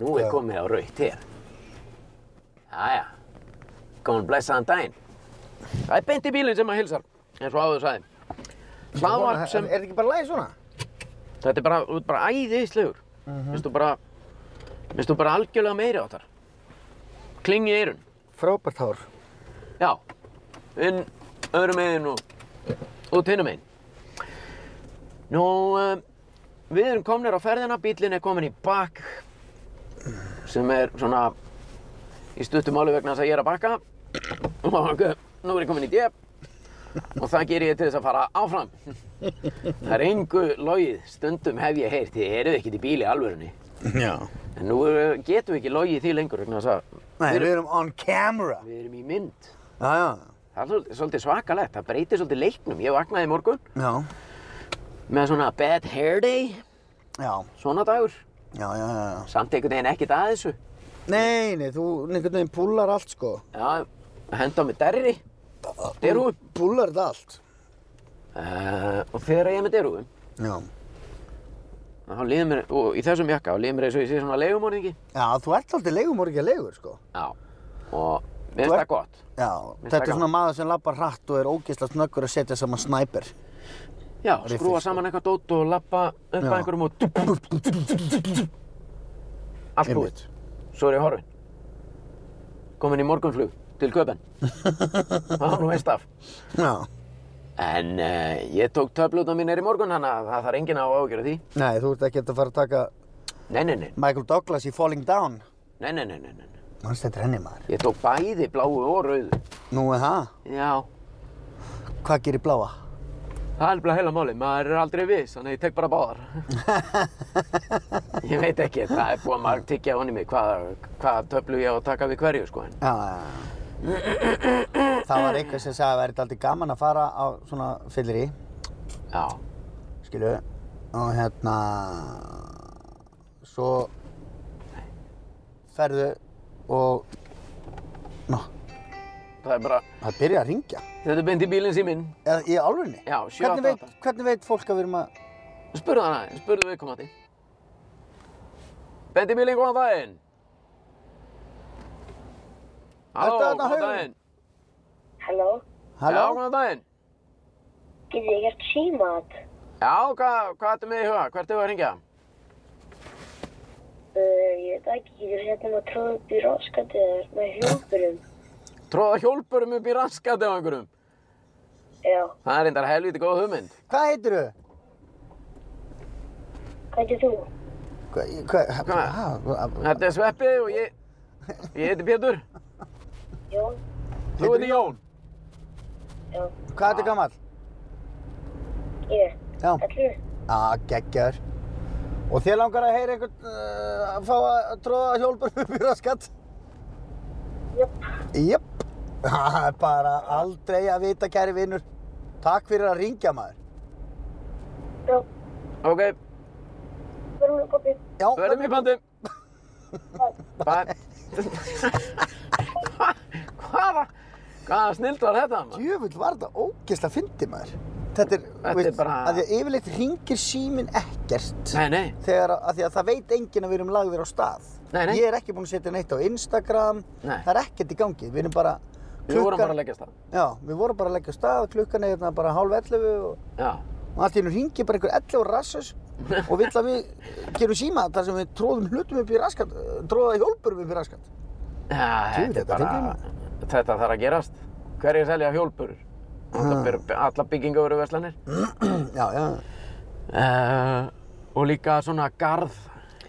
Nú er komið á raukt hér. Jæja, komin blessaðan daginn. Það er beint í bílinn sem að hilsar, eins og áður sagði. Hlaðvarp En sem, Er þetta ekki bara læg svona? þetta er bara, þú ert bara æðislegur. Minnst þú bara, minnst þú bara algjörlega meiri á þar. Klingi í eyrun, Frábært hár. já. Inn öðrum eðin og út hinum einn. Nú, um, við erum komnir á ferðina, bílinn er komin í bakk sem er svona í stuttum áli vegna þess að ég er að bakka og nú er ég komin í djöp og það ger ég til þess að fara áfram. Það er engu logið, stundum hef ég heyrt, þið eruð ekkert í bíli í alvörunni. Já. En nú eh, getum við ekki logið því lengur vegna þess að Nei, við erum on camera. við erum í mynd. Já, já. Það er svolítið- svolítið svakalegt, það breytir svolítið leiknum. Ég vaknaði í morgun Já. með svona bad hair day, Já, svona dagur. já, já, já. Samt einhvern veginn ekkert að þessu. Nei, nei, þú einhvern veginn púlar allt sko. Já, henda á mig derri, derúum. Púlar þetta allt. Uh, og þegar ég er með derúum, Já. þá líður mér, og í þessum jakka, þá líður mér eins og ég sé svona leigumorðingi. Já, þú ert alltaf leigumorgja leigur sko. Já. Og mér Þú finnst ert- það gott. Já, Mér þetta finnst er það svona maður sem lappar hratt og er ógeðslega snöggur að setja saman snæper. Já, Riffil, skrúa sko. saman eitthvað dót og lappa upp að Já. einhverjum og dup, dup, dup, dup, dup, dup, dup. Allt búið. Einmitt. Svo er ég horfinn. Kominn í morgunflug til Köpen. Það var nú veist af. Já. En uh, ég tók töflutna mínir í morgun, þannig að það þarf enginn að ágjöra því. Nei, þú ert ekki að fara að taka Nei, nei, nei, Michael Douglas í Falling Down. nei, nei, nei, nei, nei. nei. Manst þetta er henni maður. Ég tók bæði bláu og rauðu. Nú er það. Já, Hvað gerir bláa? Það er alveg heila máli, maður er aldrei viss, þannig að ég tek bara báðar. ég veit ekki, það er búið að maður tiggja honni mig hvað, hvað töflu ég á að taka við hverju, sko. En. Já, já, já. Það var eitthvað sem sagði að væri alltaf gaman að fara á svona fyllir í, Já, skilu, og hérna, svo ferðu og, ná, það er bara, það byrja að ringja. þetta er beint í bílinn síminn. Eða í alvegni? Já, sjö, átta, hvernig veit, átta. hvernig veit fólk að við erum að, Spurðu hann aðeins, spurðu við komandi. Beint í bílinn, góðan daginn. Halló, Ertu þarna, góðan Haukur? daginn. Halló, Já, halló? góðan daginn. getur ég gert símat? Já, hvað, hvað ertu með í huga? Hvert er þú að ringja? Uh, ég veit ekki, getur hérna maður tróð upp í ráskatið eða með hjólpurum? Tróða hjólpurum upp í raskat eða einhverjum. Já, Það er reyndar helviti góð hugmynd. Hvað heitir þau? hvað getur þú? Hvað, hvað, Hvað? hvað, Þetta er Sveppi og ég, ég heiti Pétur, Jón, þú heiti Jón. já, hvað ertu gammal? ég, Já. allir, Já, geggjaður. Og þér langar að heyra einhvern uh, að fá að tróða hjólpar upp í raskat? jöp, Jöpp. Það er bara aldrei að vita, kæri vinnur. Takk fyrir að ringja maður. já, Ok, verðum við kopið. Já, verðum í bandi. Bæ. Hvaða, hvaða snild var þetta? maður? Jöfull var þetta ógeðslega fyndi maður. Þetta er, Þetta er bara- að því að yfirleitt ringir síminn ekkert. Nei, nei, Þegar að, að því að það veit enginn að við erum lagðir á stað. Nei, nei. Ég er ekki búinn að setja neitt á Instagram. Nei. Það er ekkert í gangi. Við erum bara... við vorum klukkan- bara að leggjast það. Já, við vorum bara að leggja af stað, klukkan er hérna bara hálf 11 og Já, og allt í hennu ringi bara einhver 11 ára rassus og vill að við gerum síma þar sem við tróðum hlutum upp í raskat tróða hjólpurum upp í raskat já Djú, þetta þetta er bara, fyndið, þetta þarf að gerast. Hverju selja hjólpurur? Ah. Alla byr- Alla byggingavöru verslanir. já, já, Uh, og líka svona garð,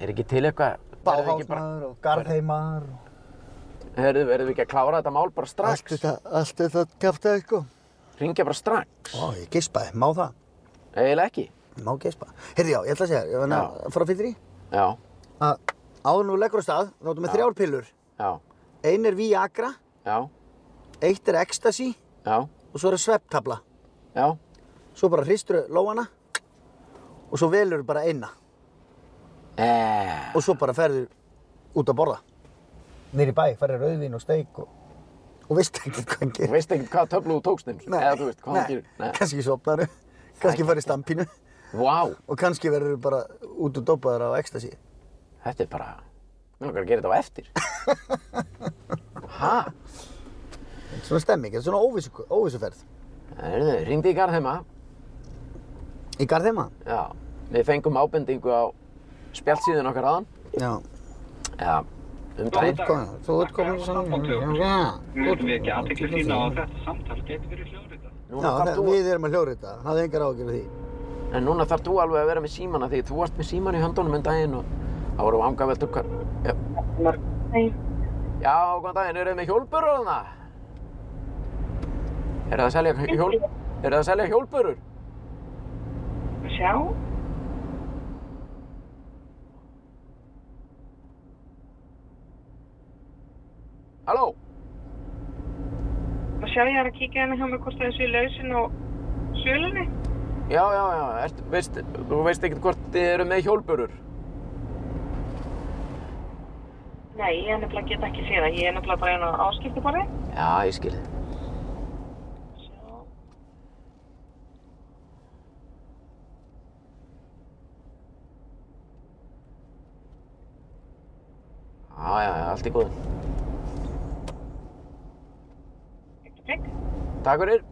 er ekki til eitthvað? verðum við ekki bara- báhásmaður og garðheimar og Heyrðu, verðum við ekki að klára þetta mál bara allt strax? þetta, allt þetta kæftið sko Ringja bara strax? ó, ég geispaði, má það, Eiginlega ekki. má geispa heyrði já, ég ætla að segja, ég vann Já. að fara fyrir í Já, að áður nú leggur á stað, notum við þrjár pillur já, ein er Viagra, já, eitt er Ecstasy já, og svo er svepptabla já, svo bara hristur lóana og svo velur bara eina eh, og svo bara ferður út að borða nýri bæ, ferður rauðvin og steik og, og veist ekki hvað hann þú gerir veist ekkert hvað töflu þú tókst þeim, sko, eða þú veist hvað hann gerir, nei, nei, kannski sopnaru kannski farið stampínu vá, og kannski verður bara út og dopaður á ekstasi þetta er bara, Mér langar að gera þetta á eftir. Hæ? Þetta er svona stemming, þetta er svona óvissu, óvissuferð. Herðu, ringdi í Garðheima. Í Garðheima? Já. Við fengum ábendingu á spjallsíðun okkar aðan. Já. Já, um Þú daginn. ert komin, þú ert komin svona. Já, þú ert Mögum við ekki aðtekla sína á að þetta samtal getur verið hljóðrita. Já, Núna þarf það, þú, við erum að hljóðrita, hafði engar ágjörð því. en núna þarf þú alveg að vera með símana því þú varst með síman í höndunum um daginn og það voru vangaveltur hvar... Já, Nei, já góðan daginn, eru þið með hjólburur þarna? Er það að selja hjól... Er það að selja hjólburur? sjá. Halló? Má sjá, ég er að kíkja hérna hjá mig hvort það séu lausin á sölunni. Já, já, já, ert, veist, þú veist ekkert hvort þið eru með hjólburur. Nei, ég er nefnilega get ekki séð það. Ég er nefnilega bara hérna á áskiptuborði. Já, ég skil þið. Sjá. Já, já, já, allt í góðum. Ekki prigg. Takk fyrir.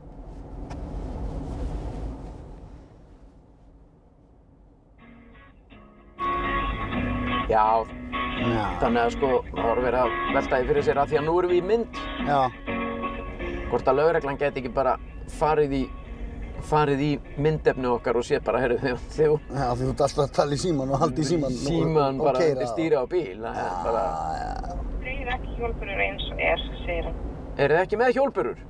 Já, Já, þannig að sko, það voru verið að velta því fyrir sér að því að nú erum við í mynd. já, Hvort að lögreglan geti ekki bara farið í, farið í myndefni okkar og sé bara, heyrðu, þegar þegar já, því þú ert alltaf að tala í síman og haldi í síman. síman bara undir stýra á bíl, það er bara, Dreigir ekki hjólburur eins og er, segir hann. eru þið ekki með hjólburur?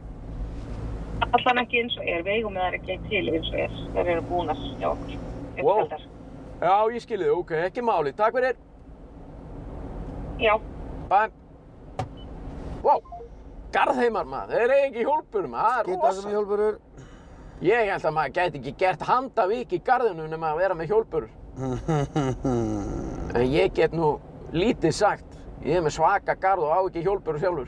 Allan ekki eins og er. Veigum með þær ekki til eins og er. Þær eru búnar hjá okkur. Wow. Uppseldar. Já, ég skil þið, ok, ekki máli, takk fyrir, Já. bæ. Vá, garðheimar maður, þeir eru ekki hjólburur maður, það er Geta sem rosa. hjálpurur. Ég held að maður gæti ekki gert handavík í garðinu nema að vera með hjólburur. En ég get nú lítið sagt. Ég er með svaka garð og á ekki hjólburur sjálfur.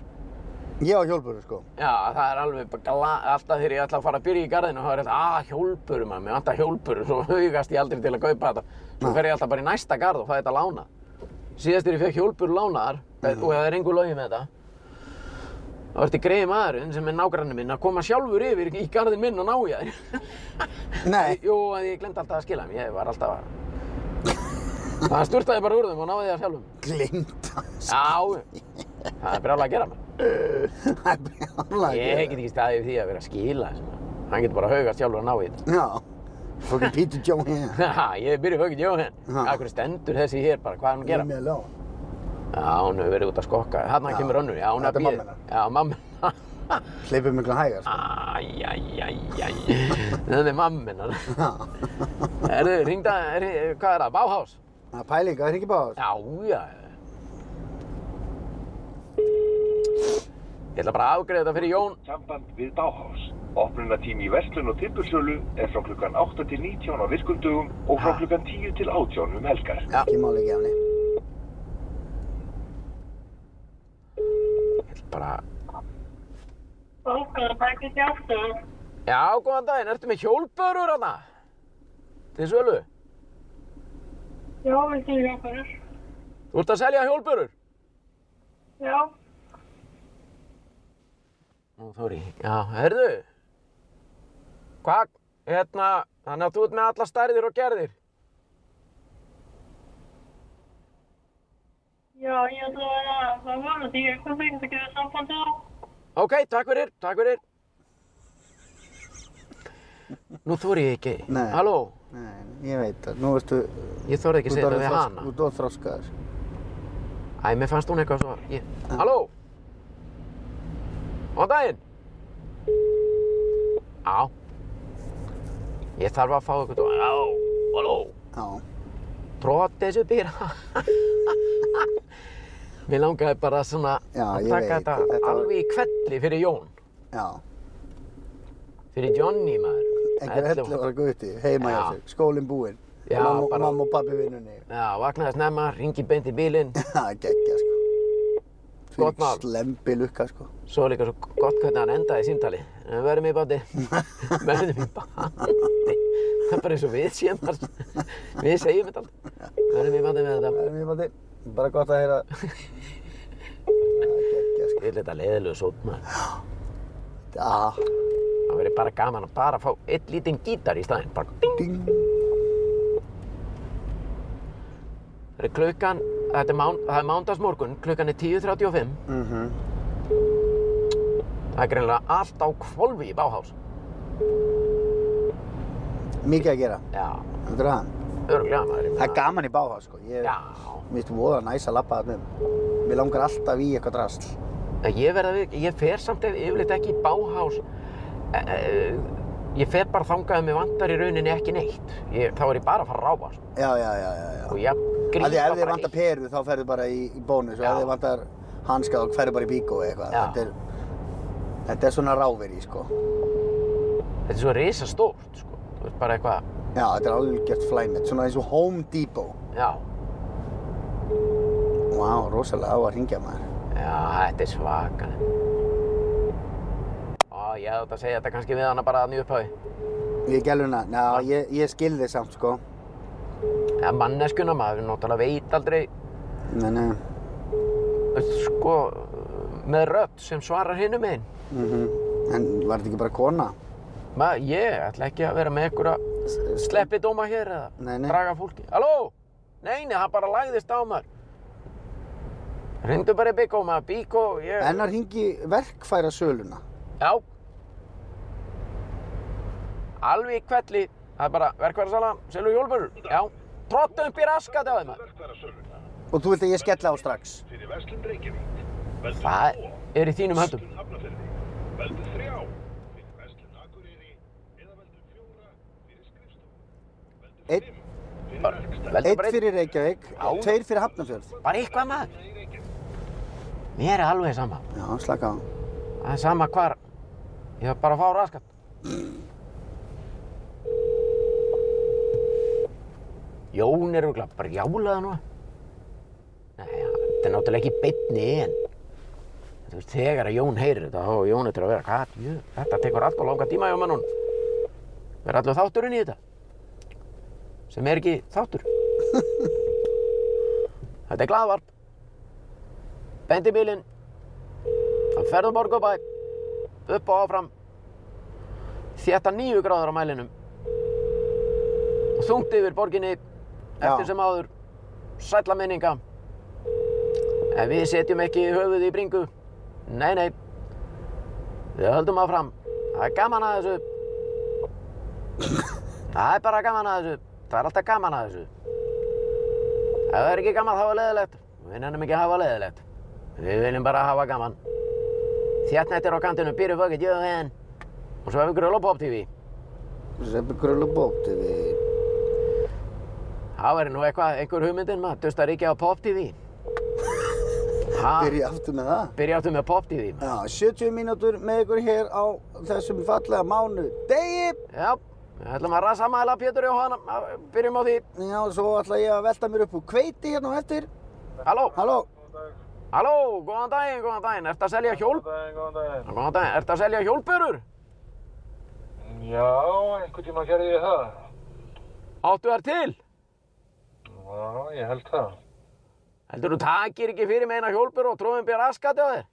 Ég á hjálpurur, sko. Já, það er alveg bara gla... Alltaf þegar ég ætla að fara að byrja í garðinu, þá er þetta, að hjólburur maður, mér vantar hjólburur, svo hugast ég aldrei til að kaupa þetta. Svo fer ég alltaf bara í næsta garð og fæ þetta lána. Síðast þegar ég fekk hjólburur lánaðar, og það er engu lögi með þetta, þá ertu greið maðurinn sem er nágrannin minn að koma sjálfur yfir í garðin minn og ná í þær. Nei, Jú, en ég glemt alltaf að skila þeim, ég var alltaf að... Það sturtaði bara úr þeim og náði það sjálfum. glimt hans. Já, það er brjálega að gera maður. Það er brjálæg. Ég get ekki staðið við því að vera að skila þessu maður. Hann getur bara haugast sjálfur að ná í þetta. Já, fucking Peter Joe here. Haha, ég byrja haugin Jóhann. Ha. Akkur stendur þessi hér bara, hvað er hún að gera? Leave me alone. Já, hún hefur verið út að skokka. Þarna Já. kemur önnur, já, hún er Þetta að bíða. er mamma Já, mamma. Hleypum miklu hægar, Ah. sko. Æjæjæjæj. Þetta er mammin hann. Já. Erðu, ringda, er, hvað er það? Báhás? Það er pæling, það er ekki báðast. Já, já. Ég ætla bara að afgreða þetta fyrir Jón. Samband við Báhás. Opnunartími í verslun og tippursölu er frá klukkan 8 til 19 á virkundugum og frá klukkan 10 til 18 um helgar. Ekki máli ekki af henni. Ég ætla bara... Bókaður bækist í áttu. Já, góðan daginn, ertu með hjólbörur hana? Til sölu? Já, við séum hjálpurur. Þú ert að selja hjólbörur? Já. Nú, Þóri, já, herðu. Hvað, hérna, þannig að þú ert með alla stærðir og gerðir. Já, ég ætla að vera, það var þetta ekki eitthvað fyrir að gera sambandi á. Ok, takk fyrir, takk fyrir. Nú þóri ég ekki. Nei. Halló, Nei, ég veit það. Nú veistu, ég þorði ekki að segja þú ert þetta við orðinn hana. þú ert orðinn þroskaður. Æ, mér fannst hún eitthvað svo... Ég... Halló? Góðan daginn? Á. Ég þarf að fá eitthvað... Á, halló? Já. Tróti þessu býra. mér langaði bara svona Já, að ég taka veit, þetta, þetta var- alveg í kvelli fyrir Jón. Já. Fyrir Johnny, maður. Einhver Ellefu. hellu var að gutti, heima hjá Já. sig, skólinn búinn. Já, mamma, bara- mamma og pabbi vinnunni. Já, vaknaði snemma, ringi beint í bílinn. Það er geggja, sko. Gott mál. Slempi lukka, sko. Svo er líka svo gott hvernig hann endaði símtali. En Verðum í bandi. Verðum í bandi. Það er bara eins og við séum þar. Við segjum þetta aldrei. Verðum í bandi með þetta. Það er mjög mætti. bara gott að heyra Það er geggjað, sko. Ég vil þetta leiðilegu sót maður. Já, Það verið bara gaman að bara fá eitt lítinn gítar í staðinn. Bara ding. ding Það er klukkan, þetta er, mán, það er mándagsmorgun, klukkan er 10.35. Mhm. Það er greinilega allt á kvolfi í Bauhaus. Mikið að gera, Já, þetta er hann örgulega maður. ég Það er meina. gaman í báha, sko Ég Já, Mér finnst voða næs að lappa þarna um Mér langar alltaf í eitthvað drasl En Ég verða við, ég fer samt ef- yfirleitt ekki í Bauhaus. Eh, eh, Ég fer bara þangað að mér vantar í rauninni ekki neitt. Ég, þá er ég bara að fara að ráfa. sko. Já, já, já, já, já. Og ég grípa Af því ef þið bara vantar í- peru þá ferðu bara í, í bónus og Já. ef þið vantar hanska þá ferðu bara í bíkó eða eitthvað. Já. Þetta er, þetta er svona ráveri, sko. Þetta er svo risastórt, sko. Þú veist bara eitthvað, Já, þetta er algjört flæmitt, svona eins og Home Depot. já, Vá, wow, rosalega á að ringja maður. já, þetta er svakan. Ó, ég hef þetta að segja þetta kannski við hana bara að nýju upphafi. Við gæluna, ná, ég, ég skil þið samt, sko. Eða manneskuna, maður náttúrulega veit aldrei, Nei, nei, þú veist, sko, með rödd sem svarar hinnum einn. mhm. En var þetta ekki bara kona? Maður, ég ætla ekki að vera með einhverja S- sleppi dóma hér eða Nei, nei. draga fólki. Halló? Nei, nei, það bara lagðist á maður. Rindu bara í Bíkó maður, Bíkó, ég... En að ringi verkfæra söluna. Já. Alveg í kvelli, það er bara verkværsala, selur jólbörur. Já. Trottu upp í raskat á þeim maður. Verkfærasöluna Og þú vilt að ég skelli á strax. fyrir Verslun Reykjavík. Veldu Það tvo, er í þínum höndum. Verslun Hafnarfirði. Veldu þrjá fyrir Verslun Akureyri eða veldu fjóra fyrir skrifstofu. Veldu Einn. fimm fyrir Bara- verkstæði. Veldu Eitt bara einn, fyrir Reykjavík, Já. tveir fyrir Hafnarfjörð. bara eitthvað maður. Mér er alveg sama. Já, slaka á. Það er sama hvar. Ég þarf bara að fá raskat. Jón er örugglega bara jálaða nú. Nei, þetta er náttúrulega ekki beinni en þú veist, þegar að Jón heyrir þetta, þá er Jón eftir að vera, hvað, jö, þetta tekur alltaf langa tíma hjá mannun. Verður allur þátturinn í þetta. Sem er ekki þáttur. þetta er glaðvarp. Bendi bílinn. Það ferðum borg og bæ, upp og áfram, þétta nýju gráður á mælinum. Og þungt yfir borginni, eftir Já. sem áður, sætla minninga. En við setjum ekki höfuð í bringu. Nei, nei. Við höldum áfram. Það er gaman að þessu. Það er bara gaman að þessu. Það er alltaf gaman að þessu. Ef það er ekki gaman þá er leiðilegt. Við nennum ekki að hafa leiðilegt. Við viljum bara hafa gaman. Þjartnættir á kantinu, býru fokkitt, jöðu henn. Og svo hefur Gröl og Pop TV. Sveppi Grölu Bóp TV. Það væri nú eitthvað, einhver hugmyndin maður, dusta ríkja á Pop TV. Ha, Byrja aftur með það. byrjáttu með Pop TV. maður. Já, 70 mínútur með ykkur hér á þessum fallega mánu. Degi! Já, við ætlum að rasa mæla Pétur Jóhann, að- byrjum á því. Já, svo ætla ég að velta mér upp úr kveiti hérna á eftir. Halló, Halló, halló, góðan daginn, góðan daginn, ertu að selja hjólp? Góðan daginn, góðan daginn. Góðan daginn, ertu að selja hjólpurur? Já, einhvern tíma gerði ég það. Áttu þær til? Já, ég held það. Heldur þú takir ekki fyrir með eina hjólpur og tróðum bér askati á þér?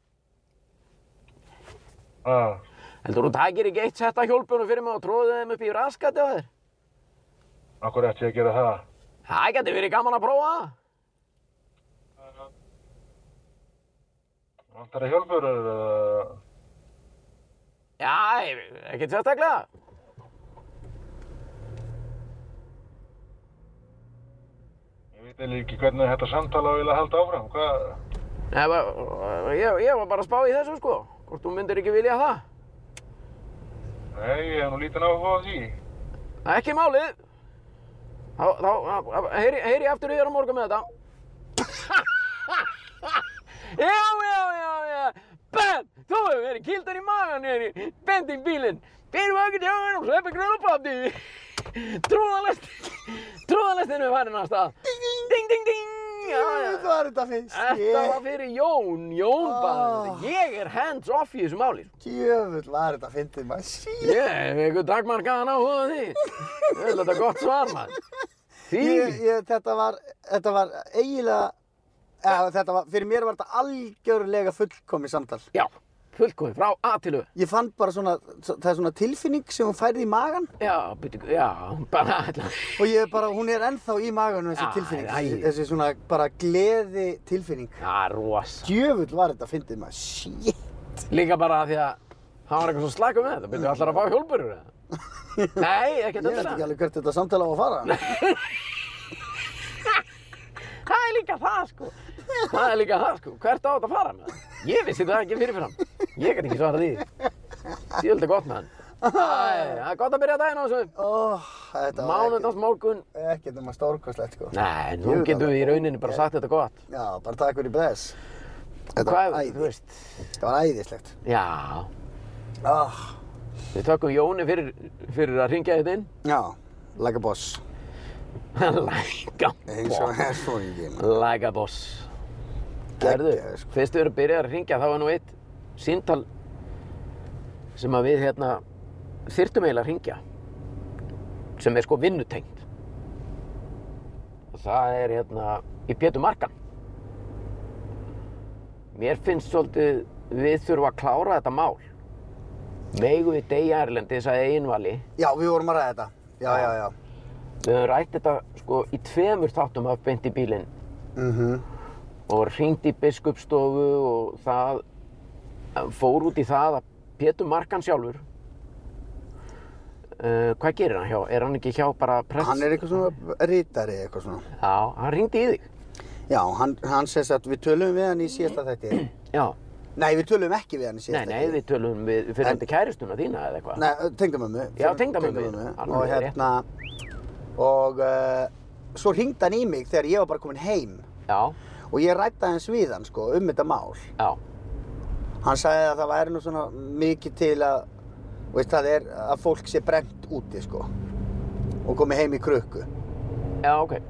Já, Heldur þú takir ekki eitt setta hjólpunum fyrir mig og tróðum þeim upp í raskati á þér? akkur ætti ég að gera það. Það geti verið gaman að prófa það. Vantar það hjálpurur eða... Já, ekkert sérstaklega. Ég veit eiginlega ekki hvernig þetta samtala vil að halda áfram. Hvað? Nei, bara- ég, ég var bara að spá í þessu sko. Hvort þú myndir ekki vilja það. Nei, ég hef nú lítið náttúrulega á því. Það er ekki málið. Þá, þá, þá heyri, heyri ég aftur í þér á morgun með þetta. já, já, já, já. Ben, þú hefur verið kildar í magan hér. Bending bílinn. Fyrir vöggin hjá mér og sveppi gröðupapti. Trúðalestin. Trúðalestin er farin að stað. Ding, ding, ding. Já, já. hvað er þetta fyrst? Þetta var fyrir Jón, Jón bara, Ah. ég er hands off í þessu máli. Jöfull, hvað er þetta fyndið maður? Sí. Ég hef einhver dagmarkaðan á hóða því. Ég vil þetta gott svar maður. Því, Ég, ég, þetta var, þetta var eiginlega eða, þetta var, fyrir mér var þetta algjörlega fullkomi samtal. Já, fullkomið, frá A til Ö. Ég fann bara svona, það er svona tilfinning sem hún færði í magan Já, byrju, já, hún bara ætla. og ég er bara, hún er ennþá í maganum þessi Æ, tilfinning, æ. þessi svona bara gleði tilfinning. Já, rosa. Djöfull var þetta, fyndið maður, shit. Líka bara af því að hann var eitthvað svo slakur með þetta. Byrju, allar að fá hjólburur eða? Nei, ekki Ég veit þetta. ekki alveg hvert þetta samtal á að fara. Það er líka það, sko. Það er líka það, sko. Hvert á þetta að fara með það? Ég vissi þetta ekki fyrirfram. Ég get ekki svarað því. Sjöld er gott með hann. Æ, það er gott að byrja daginn á þessu. Ó, þetta var ekkert, Mánudags morgun. ekkert um að stórkostlegt, sko. Nei, nú Jú, getum það- við í rauninni bara sagt þetta gott. Já, bara takk fyrir bless. Þetta var Hvað, þú æði, veist, þetta var æðislegt. já. Ah, Við tökum Jóni fyrir, fyrir að ringja þetta inn. já, like a boss. Læka Eins og boss. herfóringi, maður. Læka boss. Gerðu, Geggjaður, sko. fyrst við erum byrjað að ringja þá var nú eitt síntal sem að við hérna þyrtum eiginlega að ringja sem er sko vinnutengt og það er hérna í Pétur Markan mér finnst svolítið við þurfum að klára þetta mál megu við deyja Erlendi sagði einvali Já, við vorum að ræða þetta. Já, já, já. við höfum rætt þetta sko í tveimur þáttum af beint í bílinn Mhm. og hringt í biskupstofu og það eh, fór út í það að Pétur Markan sjálfur uh, hvað gerir hann hjá? Er hann ekki hjá bara prest? Hann er eitthvað svona rítari eitthvað svona. Já, hann hringdi í þig Já, hann, hann segi að við tölum við hann í síðasta þætti. Já, Nei, við tölum ekki við hann í nei, síðasta nei, við tölum við fyrir hundi kæristuna þína eða eitthvað Nei, tengdamömmu. Já, tengdamömmu, alveg Og rétt. hérna, og uh, svo hringdi hann í mig þegar ég var bara kominn heim Já, og ég rætti aðeins við hann sko um þetta mál. já, Hann sagði að það væri nú svona mikið til að, veist það er að fólk sé brent úti sko og komið heim í krukku, já, ok,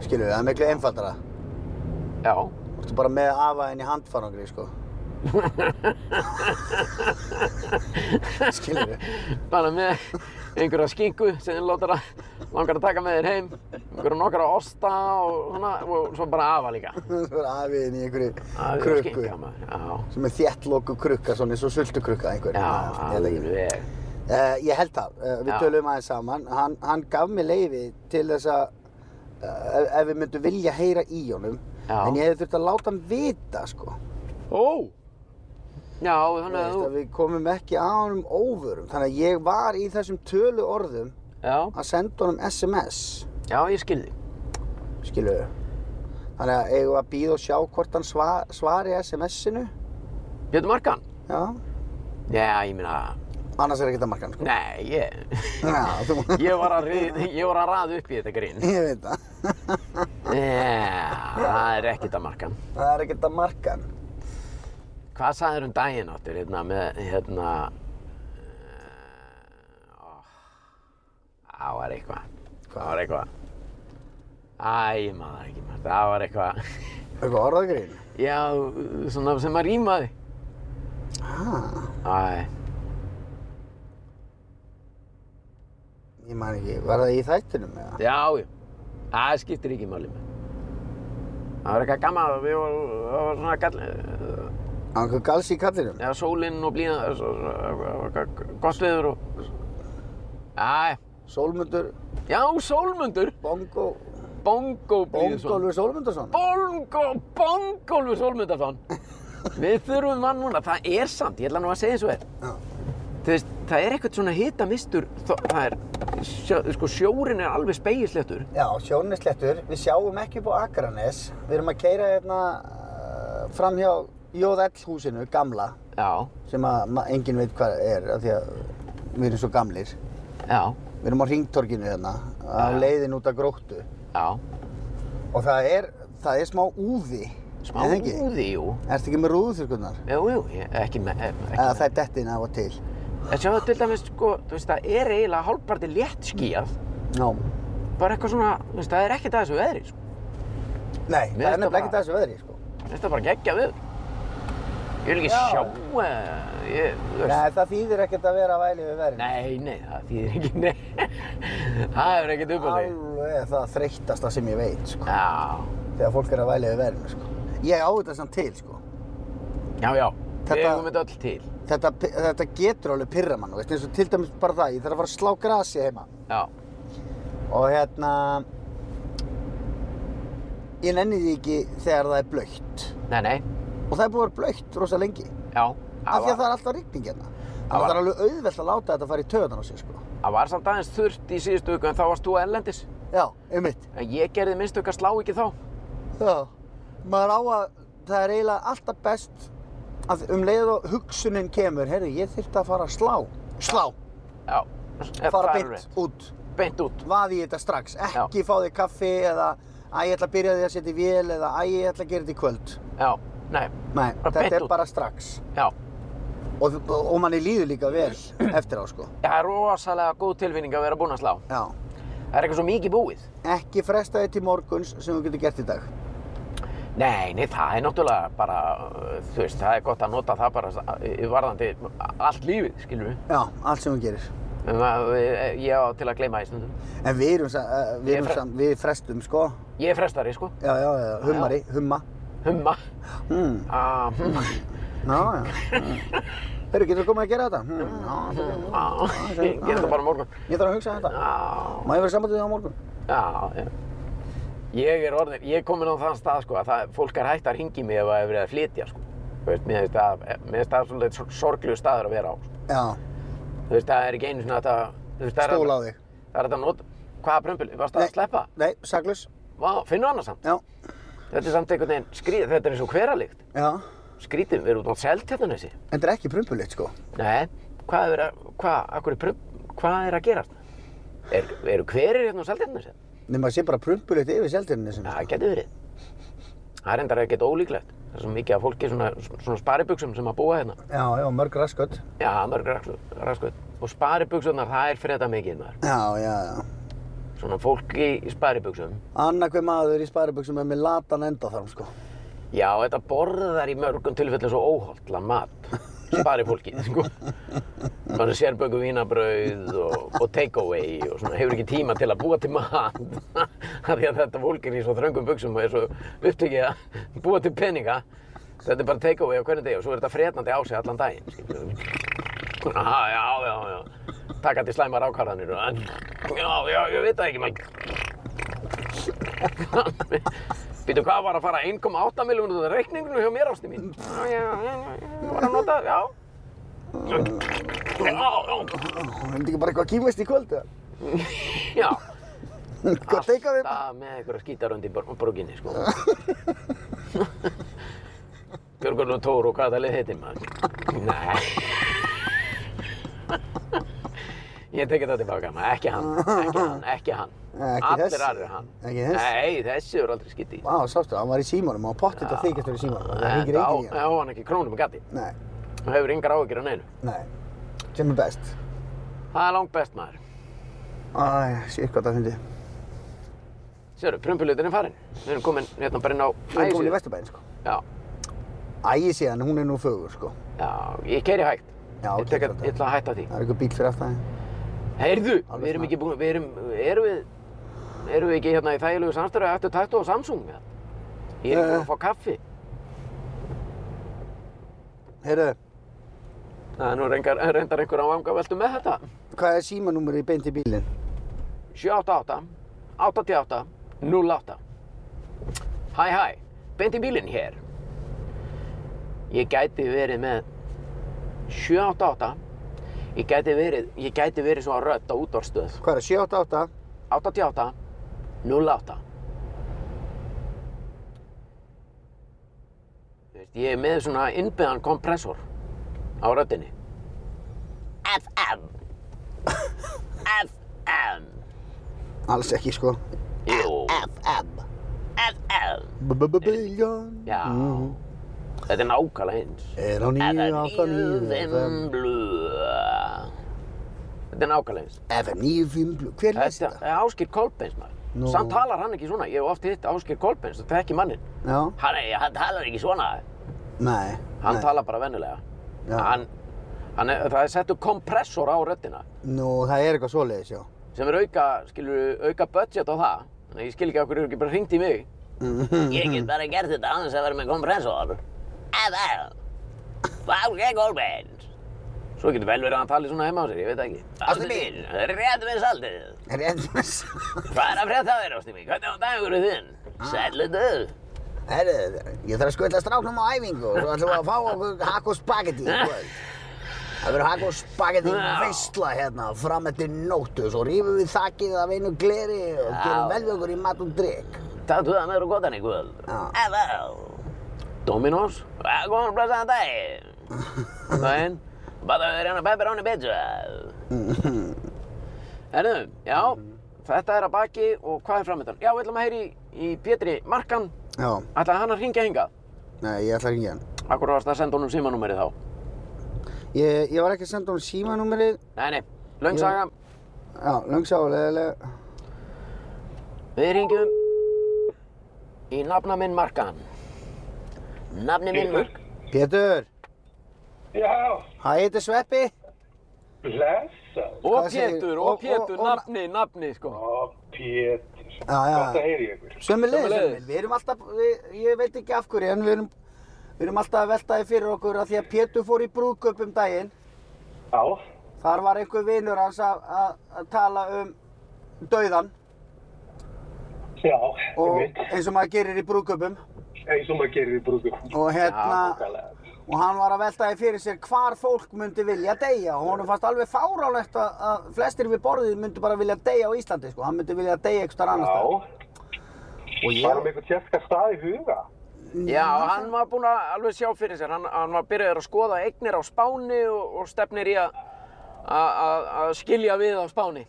skilur við, það er miklu einfaldara. já Þú ertu bara með afaðinn í handfarangri sko. skilur við. Bara með einhverja skinku sem þið látar að langar að taka með þér heim einhverja nokkara osta og svona og svo bara afa líka Svo er afiðinn í einhverju Afi og krukku. skinkja, maður. Já, sem er þéttloku krukka, svona eins og sultukrukka einhver. já, ég, veit ekki. alveg Eh, ég held það, uh, við Já. tölum aðeins saman. Hann, hann gaf mér leiði til þess að uh, ef, ef við myndum vilja heyra í honum, Já. en ég hefði þurft að láta hann vita, sko. Ó! Já, þannig Veist, að að þú... við komum ekki að honum óvörum. Þannig að ég var í þessum tölu orðum Já, að senda honum SMS, já, ég skilði. skilu við. Þannig að eigum við að býða og sjá hvort hann sva, svari SMS-inu. Björn Markan? Já, Já, ég meina... annars er ekkert að marka hann, sko. Nei, ég... Já, þú- Ég var að, rið, ég var að raða upp í þetta grín. Ég veit það. Já, það er ekkert að Markan. Það er ekkert að marka hann. Hvað sagðir um daginn áttur, hérna, með, hérna... eh, ó, Það var eitthvað. Það var eitthvað. Æ, ég maður ekki maður. Það var eitthvað. Eitthvað orðagrín? Já, svona sem að rýmaði. Ah, Æ, ég man ekki, var það í þættinum eða? Já, já. Það skiptir ekki máli með. Það var eitthvað gaman, við vorum, það var svona gall, Á einhver gals í kallinum? eða sólinn og blíðan, það var eitthvað gott viður og... Æ, Sólmundur, já, sólmundur, Bongo, bongo blíðsson. Bongolfur Sólmundursson? Bongo, bongolfur sólmundarson. Við þurfum hann núna, það er samt, ég ætla nú að segja eins og er. Já. Þú veist, það er eitthvað svona hitamistur, það er, sjó, sko, sjórin er alveg spegilsléttur. Já, sjónin er slettur, við sjáum ekki upp á Akranes, við erum að keyra hérna uh, fram hjá Jóðell húsinu, gamla, Já, sem að ma- enginn veit hvað er, af því að við erum svo gamlir. já, Við erum á Ringtorginu hérna, á Já. leiðin út af gróttu já. og það er, það er smá úði, Smá er það ekki? úði, jú. Ertu ekki með rúðuþurkunnar? Jú, jú, ég- ekki með, eh, ekki Eða með. það er dettin af og til? En sjáðu til dæmis, sko, þú veist, það er eiginlega hálfparti létt skíjað, Já. bara eitthvað svona, þú veist, það er ekkert að þessu veðri, sko. Nei, Mér það finnst er það nefnilega ekki bara- þessu veðri, sko. Þetta er bara geggjað veður. Ég vil ekki Já. sjá, eh, ég, þú veist, Nei, það þýðir ekkert að vera að væli við verðin. nei, nei, það þýðir ekki, nei, það hefur ekkert upp á sig. Alveg það þreyttasta sem ég veit, sko. Já, Þegar fólk er að væli við verðin, sko. Ég á þetta samt til, sko. Já, já, við Þetta- eigum þetta öll til. Þetta, þetta getur alveg pyrra mann, þú veist, eins og til dæmis bara það, ég þarf að fara að slá grasi heima. Já, Og hérna, ég nenni því ekki þegar það er blöytt. nei, nei, Og það er búið að vera blöytt rosa lengi, já. af því að það var- er alltaf rigning hérna. Þannig Það að var- það er alveg auðvelt að láta þetta fara í töðan á sig, sko. Það var samt aðeins þurrt í síðustu viku en þá varst þú ellendis. Já, einmitt. En ég gerði minnstu að slá ekki þá. Já, maður á að, það er eiginlega alltaf best að um leið og hugsunin kemur, herru, ég þyrfti að fara að slá, slá, Já. fara það er beint rétt. út, Beint út. vaði í þetta strax, ekki fá þig kaffi eða að ég ætla að byrja á því að setja í vél eða að ég ætla að gera þetta í kvöld. Já, nei, Nei, Bara beint þetta er út. bara strax já. og, og manni líður líka vel eftir á sko. Það er rosalega góð tilfinning að vera búinn að slá. Já, Það er eitthvað svo mikið búið. ekki fresta þetta til morguns sem þú getur gert í dag. Nei, nei, það er náttúrulega bara, uh, þú veist, það er gott að nota það bara uh, varðandi allt lífið, skilur við. Um e, Já, allt sem þú gerir. Ég á til að gleyma því stundum. En við erum, sa- eh, við Ég erum fre- sam, við frestum sko. Ég er frestari, sko. Já, já, já, hummari, humma. Humma. Hmm. Ah, humma. Já, já. Herru, getur þú komið að gera þetta? Hmm, já, ok. Ah, ég ger það bara á morgun. Ég þarf að hugsa um þetta. Ah, Má ég vera sambandið á morgun? já, já. Ég er orðin, ég er komin á þann stað, sko, að það, fólk er hægt að ringi mig ef það hefur verið að flytja, sko. Þú veist, mér finnst það, mér finnst það svolítið sorglegur staður að vera á, sko. Já, Þú veist, það er ekki einu svona þetta, þú veist, það er stóla á þig. Það er þetta að nota, hvaða prömbili, varst það Nei. að sleppa? Nei, saklaus. Vá, finnum annars samt. Já, Þetta er samt einhvern veginn skrítið, þetta er eins og hveralikt. já. Skrítið, við erum út á seltjarnanesi. En þetta er ekki prumpulitt, sko. Nei, hvað er að, hvað, akkur er prump, hvað er að gerast? Er, eru hverir hérna á seltjarnanesi? Nei, maður sé bara prumpulitt yfir seltinni sem. Það getur verið. Það er endar ekkert ólíklegt. Það er svo mikið af fólki í svona, svona sparibuxum sem að búa hérna. Já, já, mörg raskött. Já, mörg raskuð. Og sparibuxunar, það er freda mikið maður. Já, já, já. Svona fólki í sparibuxum. Anna hver maður í sparibuxum er með latan enda þar, sko. Já, þetta borðar í mörgum tilfellum svo óholdlan mat. Spari fólkið, sko. Það er sérböku vínabrauð og, og takeaway og svona hefur ekki tíma til að búa til mat. Af því að þetta fólk er í svo þröngum buksum og er svo upptökið að búa til peninga. Þetta er bara takeaway á hvernig degi og svo er þetta frednandi á sig allan daginn. skilurðu. Já, já, já, já. Taka til slæmar ákvarðanir og já, já, ég veit það ekki maður. Býtu, hvað var að fara 1,8 miljónur úr reikningnum hjá mér ástu mín? Já, já, já, já, já, var að nota, já. Já, já, Það er þetta ekki bara eitthvað kýmist í kvöld, eða? já. Hvað teika við? Alltaf með einhverja skítarönd í borginni, sko. Björgun og Tóru, hvað það leið heitir maður? Nei. Ég teki það tilbaka maður, ekki hann, ekki hann, ekki hann. Nei, ekki Allir þessi. aðrir hann. Ekki þessi. Nei, þessi eru aldrei skítið. Vá, sástu, hann var í símanum og pottitt að þykjast verið í símanum. Það hengir enginn í hann. hann. Já, hann ekki krónum að gati. Nei, Hann hefur yngar áhyggjur af neinu. nei. Sem er best. Það er langt best maður. Æ, sér hvað það fyndi. Sérðu, prumpulutin er farin. Við erum komin hérna bara inn á Við erum komin í ægisíðu. Vesturbæinn, sko. Já, Ægisíðan, hún er nú fögur, sko. já, ég keri hægt. Já, ég tek keyri að, hægt. ég ætla að hætta því. Það er eitthvað bíl fyrir aftan þig. Heyrðu, Alveg við erum smá. ekki búin, við erum, erum við, erum við ekki hérna í þægilegu samstæðu eftir tættu á Samsung, eða? Ég er ekki búin að fá kaffi. Heyrðu, Það er nú reyndar, reyndar einhver á vanga veldu með þetta. hvað er símanúmur í beint í bílinn? 788, 88, 08. Hæ, hæ, beint í bílinn hér. Ég gæti verið með 788, ég gæti verið, ég gæti verið svo að rötta útvarstöð. Hvað er það? 788? 88, 08. Þú veist, Ég er með svona innbyðan kompressor á röddinni. FM. FM. Alls ekki, sko. Jú. FM. FM. B-b-b-billion. Já. Þetta er nákvæmlega eins. Mhm. Er á Þetta nýju, er átta, nýju, FM. nýðum blöð. Þetta er nákvæmlega eins. FM, nýju, fimm, blú. Hver lest Þetta það? er Áskir Kolbeins maður. Nú. Samt talar hann ekki svona. Ég hef oft hitt Áskir Kolbeins og þekki manninn. Já. Hann, hann talar ekki svona. Nei. Hann nei. talar bara vennilega. Já. Hann, hann er, það er settur kompressor á röddina Nú, það er eitthvað svoleiðis, já. sem er auka, skilur, auka budget á það. Þannig að ég skil ekki okkur eru ekki bara hringt í mig. Ég get bara gert þetta án þess að vera með kompressor. Eða, fál gegn Olbens. Svo getur vel verið að hann tali svona heima á sér, ég veit það ekki. Ástin mín. Rétt við saldið. Er ég endur með Hvað er að frétta á þér, Ástin mín? Hvernig á dagur er þinn? Sætlu döð. Herru, ég þarf að skvilla stráknum á æfingu og svo ætlum við að fá okkur hakk og spagetti í kvöld. Það verður hakk og spagetti Já. með veistla hérna fram eftir nóttu svo rýfum við þakkið af einu gleri og Já. gerum vel við okkur í mat og drikk. Tattu það meður og gotan í kvöld. Já. Eða, Ah, Dominos, ah, að góðan og blessaðan dag. Daginn, bara við reyna pepperoni pizza. Herðu, já, þetta er að baki og hvað er framöndan? Já, við ætlum að heyri í Pétri Markan. Já, Ætlaði hann að hringja hingað? nei, ég ætla ekki hann. Akkur varst að senda honum símanúmerið þá? Ég, ég var ekki að senda hún símanúmerið. Nei, nei, löng saga. Já, langsálega. Við hringjum í nafna minn Markan. Nafni minn Markan. Pétur, Já, hæ, þetta er Sveppi. blessað. Og Hvað segir- Pétur, og- og og- Pétur, og- nafni, nafni, sko. Ó, Pétur. Já, já. Gott að heyri ykkur. Sömmulegis, Sömuleiðis. sömmulegis. Við erum alltaf, við, ég veit ekki af hverju, en við erum, við erum alltaf að veltaði fyrir okkur að því að Pétur fór í brúðköp um daginn. Já, Þar var einhver vinur hans að, að, að tala um dauðan já, og mitt. eins og maður gerir í brúðköpum Eins og maður gerir í brúðum. og hérna Nákvæmlega. og hann var að velta því fyrir sér hvar fólk myndi vilja deyja og honum fannst alveg fáránlegt að, að flestir við borðið myndi bara vilja deyja á Íslandi sko, hann myndi vilja deyja einhver starf annars staðar. Já, og bara með ég, eitthvað sérska stað í huga. Já, hann var búinn að alveg sjá fyrir sér. Hann, hann var byrjaður að skoða eignir á Spáni og, og stefnir í að að- að að skilja við á Spáni.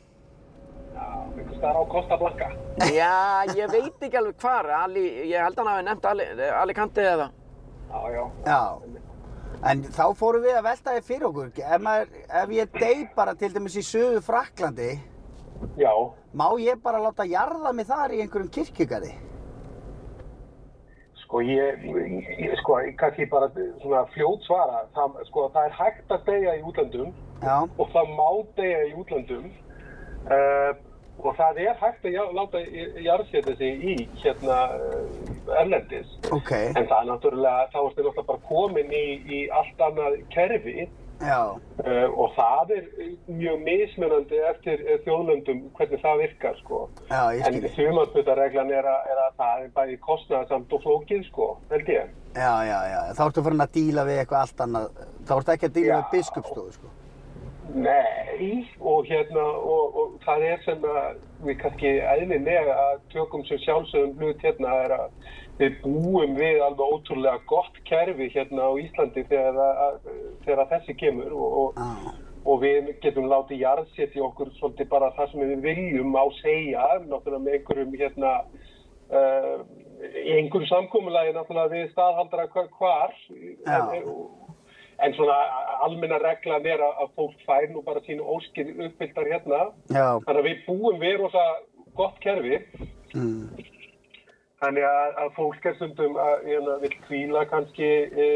Já, eitthvað staðar á Costa Blanca. Já, ég veit ekki alveg hvar. Ali, ég held hann hafi nefnt Ali, Alicante eða. Já, já. Mm, já En þá fórum við að velta því fyrir okkur, ef, maður, ef ég dey bara til dæmis í söðu Fraklandi, Já, má ég bara láta jarða mig þar í einhverjum kirkjugari? sko ég, ég, ég- sko, ég kannski bara svona fljót svara. Það, sko, það er hægt að deyja í útlandum Já, og það má deyja í útlandum. Uh, og það er hægt að já, láta j- jarðsetja sig í hérna eh, erlendis. ok, En það er náttúrulega, þá ertu náttúrulega bara komin í, í allt annað kerfi já. uh, og það er eh, mjög mismunandi eftir eh, þjóðlöndum hvernig það virkar sko. Já, ég En skil. þjóðmannsputareglan er, að- er að það er bæði kostnaðarsamt og flókið sko, held ég. Já, já, já. Þá ertu farin að díla við eitthvað allt annað. Þá ertu ekki að díla Já. við biskupsstofu, sko. Nei, og hérna, og, og það er sem að við kannski eðlilega að tökum sem sjálfsögum hlut hérna er að við búum við alveg ótrúlega gott kerfi hérna á Íslandi þegar, að- að, þegar að þessi kemur og, og, Já, og við getum látið jarðsetja okkur svolítið bara það sem við viljum á segja, náttúrulega með einhverjum hérna, uh, einhverjum samkómulagi náttúrulega við staðhaldara hvar, hvar Já. en, eh, en svona almenna reglan er að, að fólk fær nú bara sínu óskir uppfylltar hérna, já, þannig að við búum við rosa gott kerfi, mm. þannig að, að fólk er sundum að hérna, vil kvíla kannski e,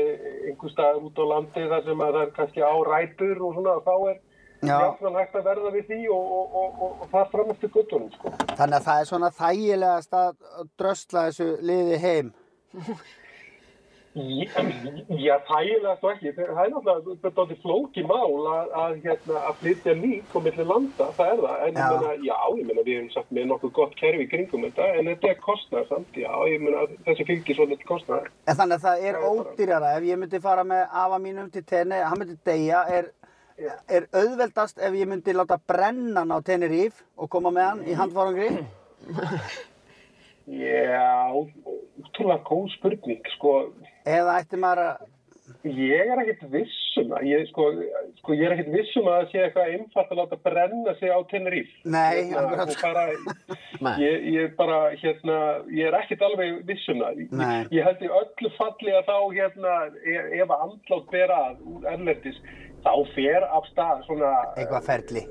einhver staðar út á landi þar sem að það er kannski á rætur og svona, þá er já. jafnan hægt að verða við því og, og, og, og, og það fram eftir guttunum sko. Þannig að það er svona þægilegast að drösla þessu liði heim. Já, já, þægilega svo ekki. Það er náttúrulega þetta átti flóki mál að, að, hérna, að flytja lík og milli landa, það er það. En Já. ég meina, já, ég meina, við erum samt með nokkuð gott kerfi í kringum þetta, en þetta er kostnað samt, já, ég meina, þessi fylgir svo litt kostnað. En þannig að það er Já, bara- ódýrara. Ef ég myndi fara með afa mínum til tenni, hann myndi deyja, er, er auðveldast ef ég myndi láta brenna hann á Tenerife og koma með Mhm. hann í handfárangri. Já, útrúlega góð spurning, sko, Eða ætti maður að... ég er ekkit vissum að, ég, sko, sko, ég er ekkit vissum að það sé eitthvað einfalt að láta brenna sig á Tenerife. Nei, Hérna, akkurat. og bara, Nei. ég, ég bara hérna, ég er ekkert alveg viss um það Nei. ég, ég held í öllu falli að þá hérna, ef, ef að andlátt ber að úr erlendis þá fer af stað svona Eitthvað ferli.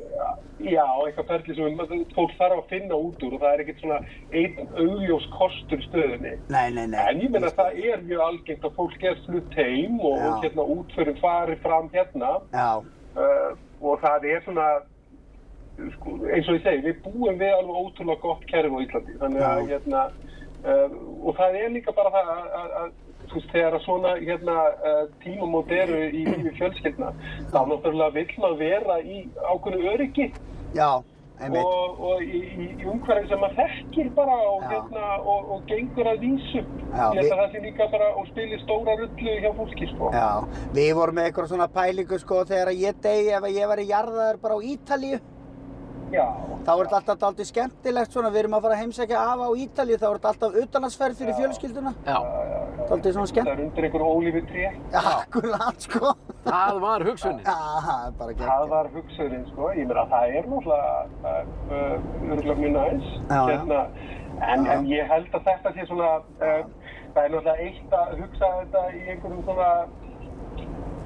já, eitthvað ferli sem fólk þarf að finna út úr og það er ekkert svona einn augljós kostur í stöðunni Nei, nei, nei. En ég meina það er mjög algengt að fólk er slutt heim og, Já. og hérna útförum farið fram hérna Já, uh, og það er svona sko, eins og ég segi, við búum við alveg ótrúlega gott kerfi á Íslandi þannig að Já. hérna, Uh, og það er líka bara það að, að, að þú veist, þegar að svona hérna, uh, tímamót eru í lífi fjölskyldna, þá náttúrulega vill maður vera í ákveðnu öryggi Já, einmitt. og, og í, í, í umhverfi sem maður þekkir bara og, Já. hérna, og, og gengur að vísu. Já, Ég held við- að það sé líka bara og spili stóra rullu hjá fólki, sko. Já, við vorum með eitthvað svona pælingu sko þegar að ég degi ef að ég væri jarðaður bara á Ítalíu Já. þá er þetta alltaf aldrei skemmtilegt svona, við erum að fara að heimsækja afa á Ítalíu þá er þetta alltaf utanlandsferð fyrir fjölskylduna Já, Það er aldrei svona Það skemmt er undir einhver ólífi tré. Akkurat sko það var hugsunin. Já, það er bara Það gegn var hugsunin, sko. Ég meina, það er náttúrulega uh, örgulega mjög næs. Hérna, Já, já. en, Já. en ég held að þetta sé svona, uh, það er náttúrulega eitt að hugsa þetta í einhverjum svona,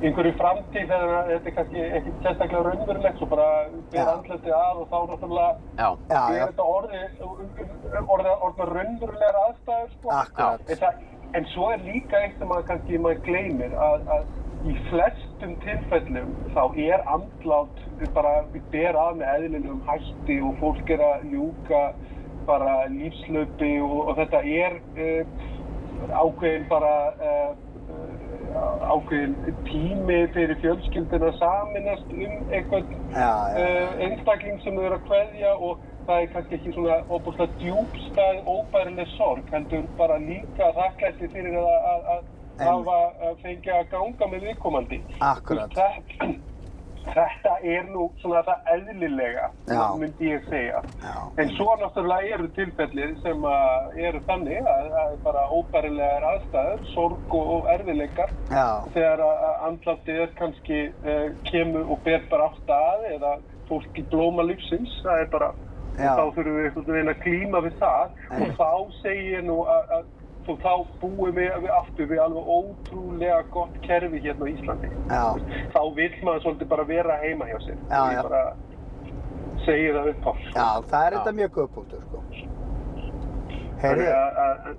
einhverju framtíð þegar að þetta er kannski ekki sérstaklega raunverulegt, svo bara Já. byrja andletið að og þá náttúrulega Já, Já, er já, þetta orðið, orðið, orðið raunverulegar aðstæður, sko. akkurat En, það, en svo er líka eitt sem maður kannski maður gleymir að, að í flestum tilfellum þá er andlátt bara við ber að með eðlilegum hætti og fólk er að ljúka bara lífslaupi og, og þetta er uh, ákveðin bara uh, ákveðin tími fyrir fjölskyldina að saminast um eitthvað Já, já, uh, einstakling sem þau eru að kveðja og það er kannski ekki svona óbúslega djúbstæð, óbærileg sorg, heldur bara líka þakklætti fyrir að, að, að En- hafa að fengja að ganga með viðkomandi. akkurat Þetta, þetta er nú svona það eðlilega, Já. myndi ég segja. Já. En svo náttúrulega eru tilfellið sem að eru þannig að, að bara óbærilegar aðstæður, sorg og, og erfileikar Já, þegar að að andlátið er kannski uh, kemur og ber bara átt að eða fólk í blóma lífsins það er bara, Já. þá þurfum við einhvern veginn að klíma við það og þá segir ég nú að, að og þá búum við, við aftur við alveg ótrúlega gott kerfi hérna á Íslandi já, þá vill maður svolítið bara vera heima hjá sér Já, ég já. bara segi það upp á já, það er þetta mjög guðpunktur sko Heyrðu,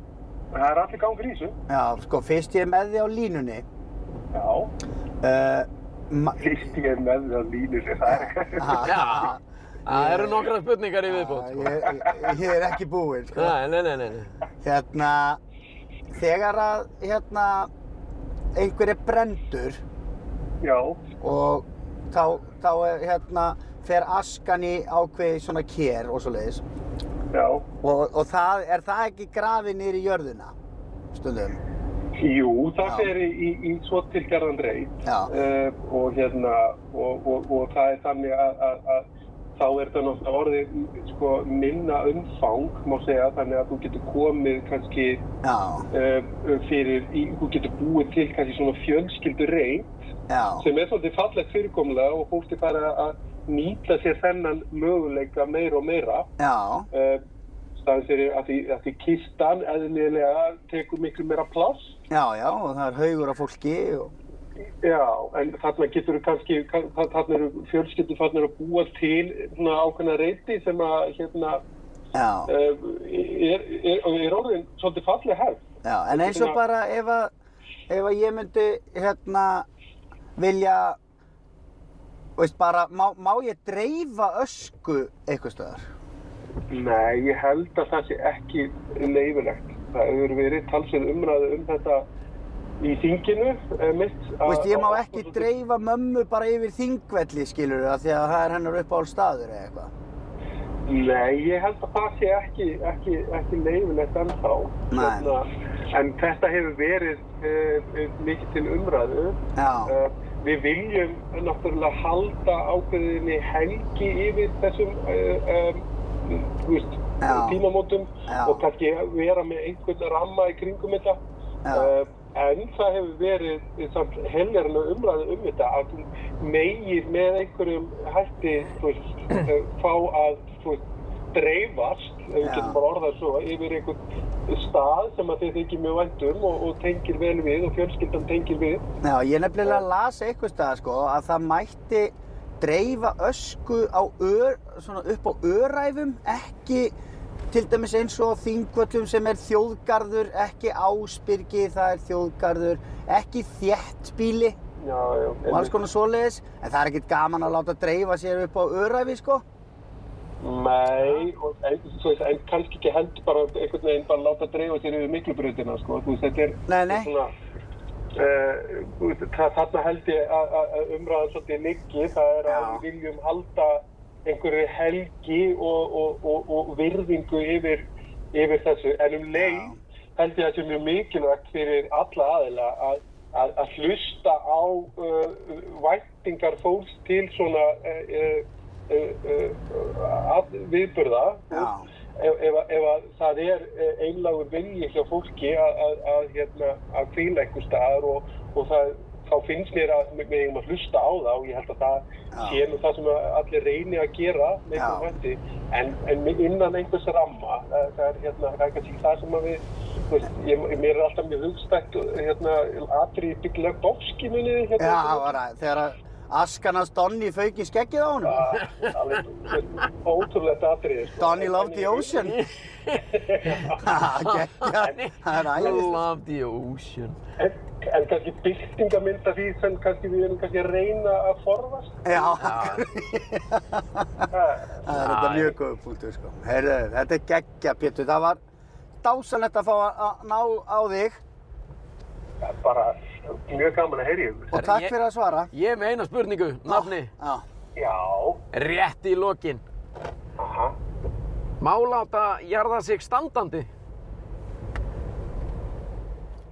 það er allir gangur í þessu já, sko, fyrst ég er með því á línunni já, uh, ma- fyrst ég er með það línur það er já, það eru nokkra spurningar í viðbót. Já, sko. Ég, ég- ég er ekki búinn, sko. Nei, nei, nei, nei, nei. Hérna, þegar að, hérna, einhver er brendur já og þá, þá er, hérna, fer askan í ákveði svona kér og svoleiðis. Já, Og, og það, er það ekki grafið niður í jörðina? Stundum. jú, það Já. fer í, í, í svo tilgerðan reit Já. uh, og hérna og, og, og það er þannig að, að, að þá er það náttúrulega orðið sko, minna umfang má segja þannig að þú getur komið kannski Já, uh, fyrir, í, þú getur búið til kannski svona fjölskyldu reit já, sem er svolítið fallegt fyrirkomlega og fólk er bara að nýta sér þennan möguleika meira og meira já, uh, staðan fyrir að því, að því kistan eðlilega tekur miklu meira pláss já, já, og það er haugur af fólki og... Já, en þarna getur kannski, kann- þarna eru fjölskyldur farnir að búa til svona ákveðna reyti sem að hérna Já, eh, er, er, er orðin svolítið fallið hefð. já, en eins og Svona- bara ef að, ef að ég myndi, hérna, vilja, veist bara, má, má ég dreifa ösku eitthvað stöðar? Nei, ég held að það sé ekki leifilegt. Það hefur verið talsið umræðu um þetta í þinginu, eh, mitt. Þú veist, ég má ekki dreifa mömmu bara yfir þingvelli, skilur það, því að það er hennar uppáhald staður eða eitthvað. Nei, ég held að það sé ekki, ekki, ekki leifilegt ennþá. Hérna, Nei. en þetta hefur verið uh, mikið til umræðu. Já, Uh, við viljum náttúrulega halda ákveðinni helgi yfir þessum uh, um, þú veist, Já. tímamótum Já. og kannski vera með einhvern ramma í kringum þetta. Já. Uh, en það hefur verið eh, samt helgarna umræðu um þetta að þú megir með einhverjum hætti þú veist, uh, fá að þú veist, dreifast, ef við Já. getum bara orðað svo, yfir einhvern stað sem að þið þykir mjög vænt um og, og tengir vel við og fjölskyldan tengir við. já, ég nefnilega las eitthvað staðar, sko, að það mætti dreifa ösku á ör, svona upp á öræfum, ekki til dæmis eins og á þingvöllum sem er þjóðgarður, ekki ásbyrgi, það er þjóðgarður, ekki þéttbíli Já, já. og alls konar svoleiðis, en það er ekkert gaman að láta dreifa sér upp á öræfi, sko. Nei, og, en, þú veist, en kannski ekki heldur bara einhvern veginn bara láta dreifa sér yfir miklubröðina, sko. Þú veist, þetta er... Nei, nei. Svona, uh, veist, það, þarna held ég að- að að umræðan svolítið liggi. Það er að Já. við viljum halda einhverju helgi og, og, og, og virðingu yfir, yfir þessu. En um leið held ég að þetta er mjög mikilvægt fyrir alla aðila að, að, að hlusta á uh, væntingar fólks til svona... Uh, uh, uh, uh, að viðburða Já. ef, ef, að- ef að það er eh, einlægur vilji hjá fólki að, að, að, hérna, að kvíla einhver staðar og, og það, þá finnst mér að við eigum að hlusta á það og ég held að það Já. sé nú það sem að allir reyni að gera með Já. einhverjum hætti en, en innan einhvers ramma það, það er hérna, það er kannski ekki það sem að við þú veist, ég, mér er alltaf mjög hugstætt hérna, atrið bygglega bókski minni hérna, Já, sem- það var að þegar að askan hans Donny fauk í skeggið á honum. Ah, alveg ótrúlegt atriði sko. Donny loved the ocean. Ha, geggjað. Það er I æðislegt. love the ocean. en, en kannski byrtingamynd af því sem kannski við erum kannski að reyna að forðast Já, Já. það er þetta Æ. mjög góð punktur sko. Heyrðu, þetta er geggja, Pétur. Það var dásanlegt að fá að að ná á þig Það er bara mjög gaman að heyri ykkur og Herra, takk ég- fyrir að svara. Ég er með eina spurningu, nafni, Já. já, rétt í lokin. aha Má láta jarða sig standandi?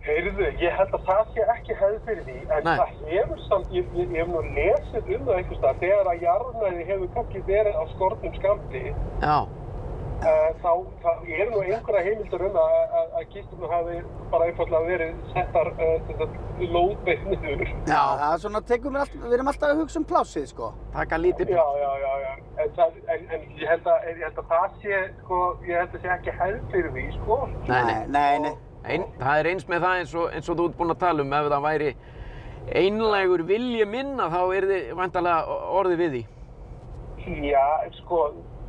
Heyrðu, ég held að það sé ekki hefð fyrir því, en Nei. það hefur samt, ég, ég, ég hef nú lesið um það einhvers staðar, þegar að jarðnæði hefur kannski verið á skornum skamti, Já. uh, þá, þá eru nú einhverja heimildur um að, að, að kistunum hafi bara einfallega verið settar uh, lóðbeitt niður. Já, það er svona, tekum við, allt, við erum alltaf að hugsa um plásið sko. Taka lítið. Já, já, já, já. En, það, en, en ég, held að, ég held að það sé, sko, ég held að sé ekki hefð fyrir því, sko. Nei, nei. Nei, nei. Ein, það er eins með það eins og, eins og þú ert búinn að tala um. Ef það væri einlægur vilji minna þá er þið vantalega orðið við því. Já, sko,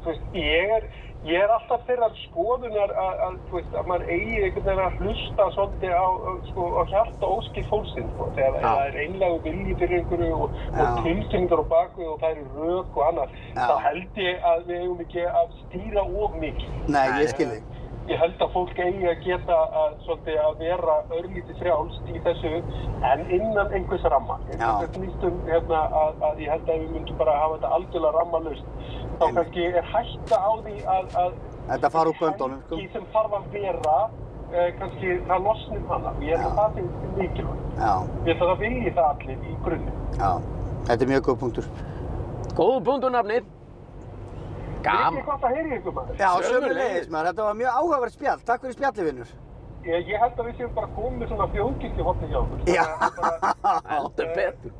þú veist, ég er, ég er alltaf þeirrar skoðunar að, að, þú veist, að maður eigi einhvern veginn að hlusta svolítið á, sko, á hjarta óskil fólksinn, sko. Þegar Já. það er einlega vilji fyrir einhverju og, og Já. tilfinningar á bakvið og það eru rök og annað, Já. þá held ég að við eigum ekki að stýra of mikið. Nei, ég skil þig. Ég held að fólk eigi að geta að, svolítið, að vera örlítið frjálst í þessu en innan einhvers ramma. Já. Þetta snýst um hérna, að, að ég held að við myndum bara að hafa þetta algjörlega rammalust. Þá Einmitt. kannski er hætta á því að, að Þetta fara úr böndunum, sko. helgi sem þarf að vera, eh, kannski það losnum hana. Ég held að það finnst mikilvægt. Já, Ég held að það vilji það allir í grunni. já. Þetta er mjög góð punktur. Góð punktu nafni. Ég Gam. er gott að heyri ykkur maður. Já, Sömuleiðis. sömulegis maður. Þetta var mjög áhugaverð spjall. Takk fyrir spjallið, vinnur. Ég, ég held að við séum bara komið svona þjóðkirkju hjá okkur. Já. Þannig að bara- Heldur betur.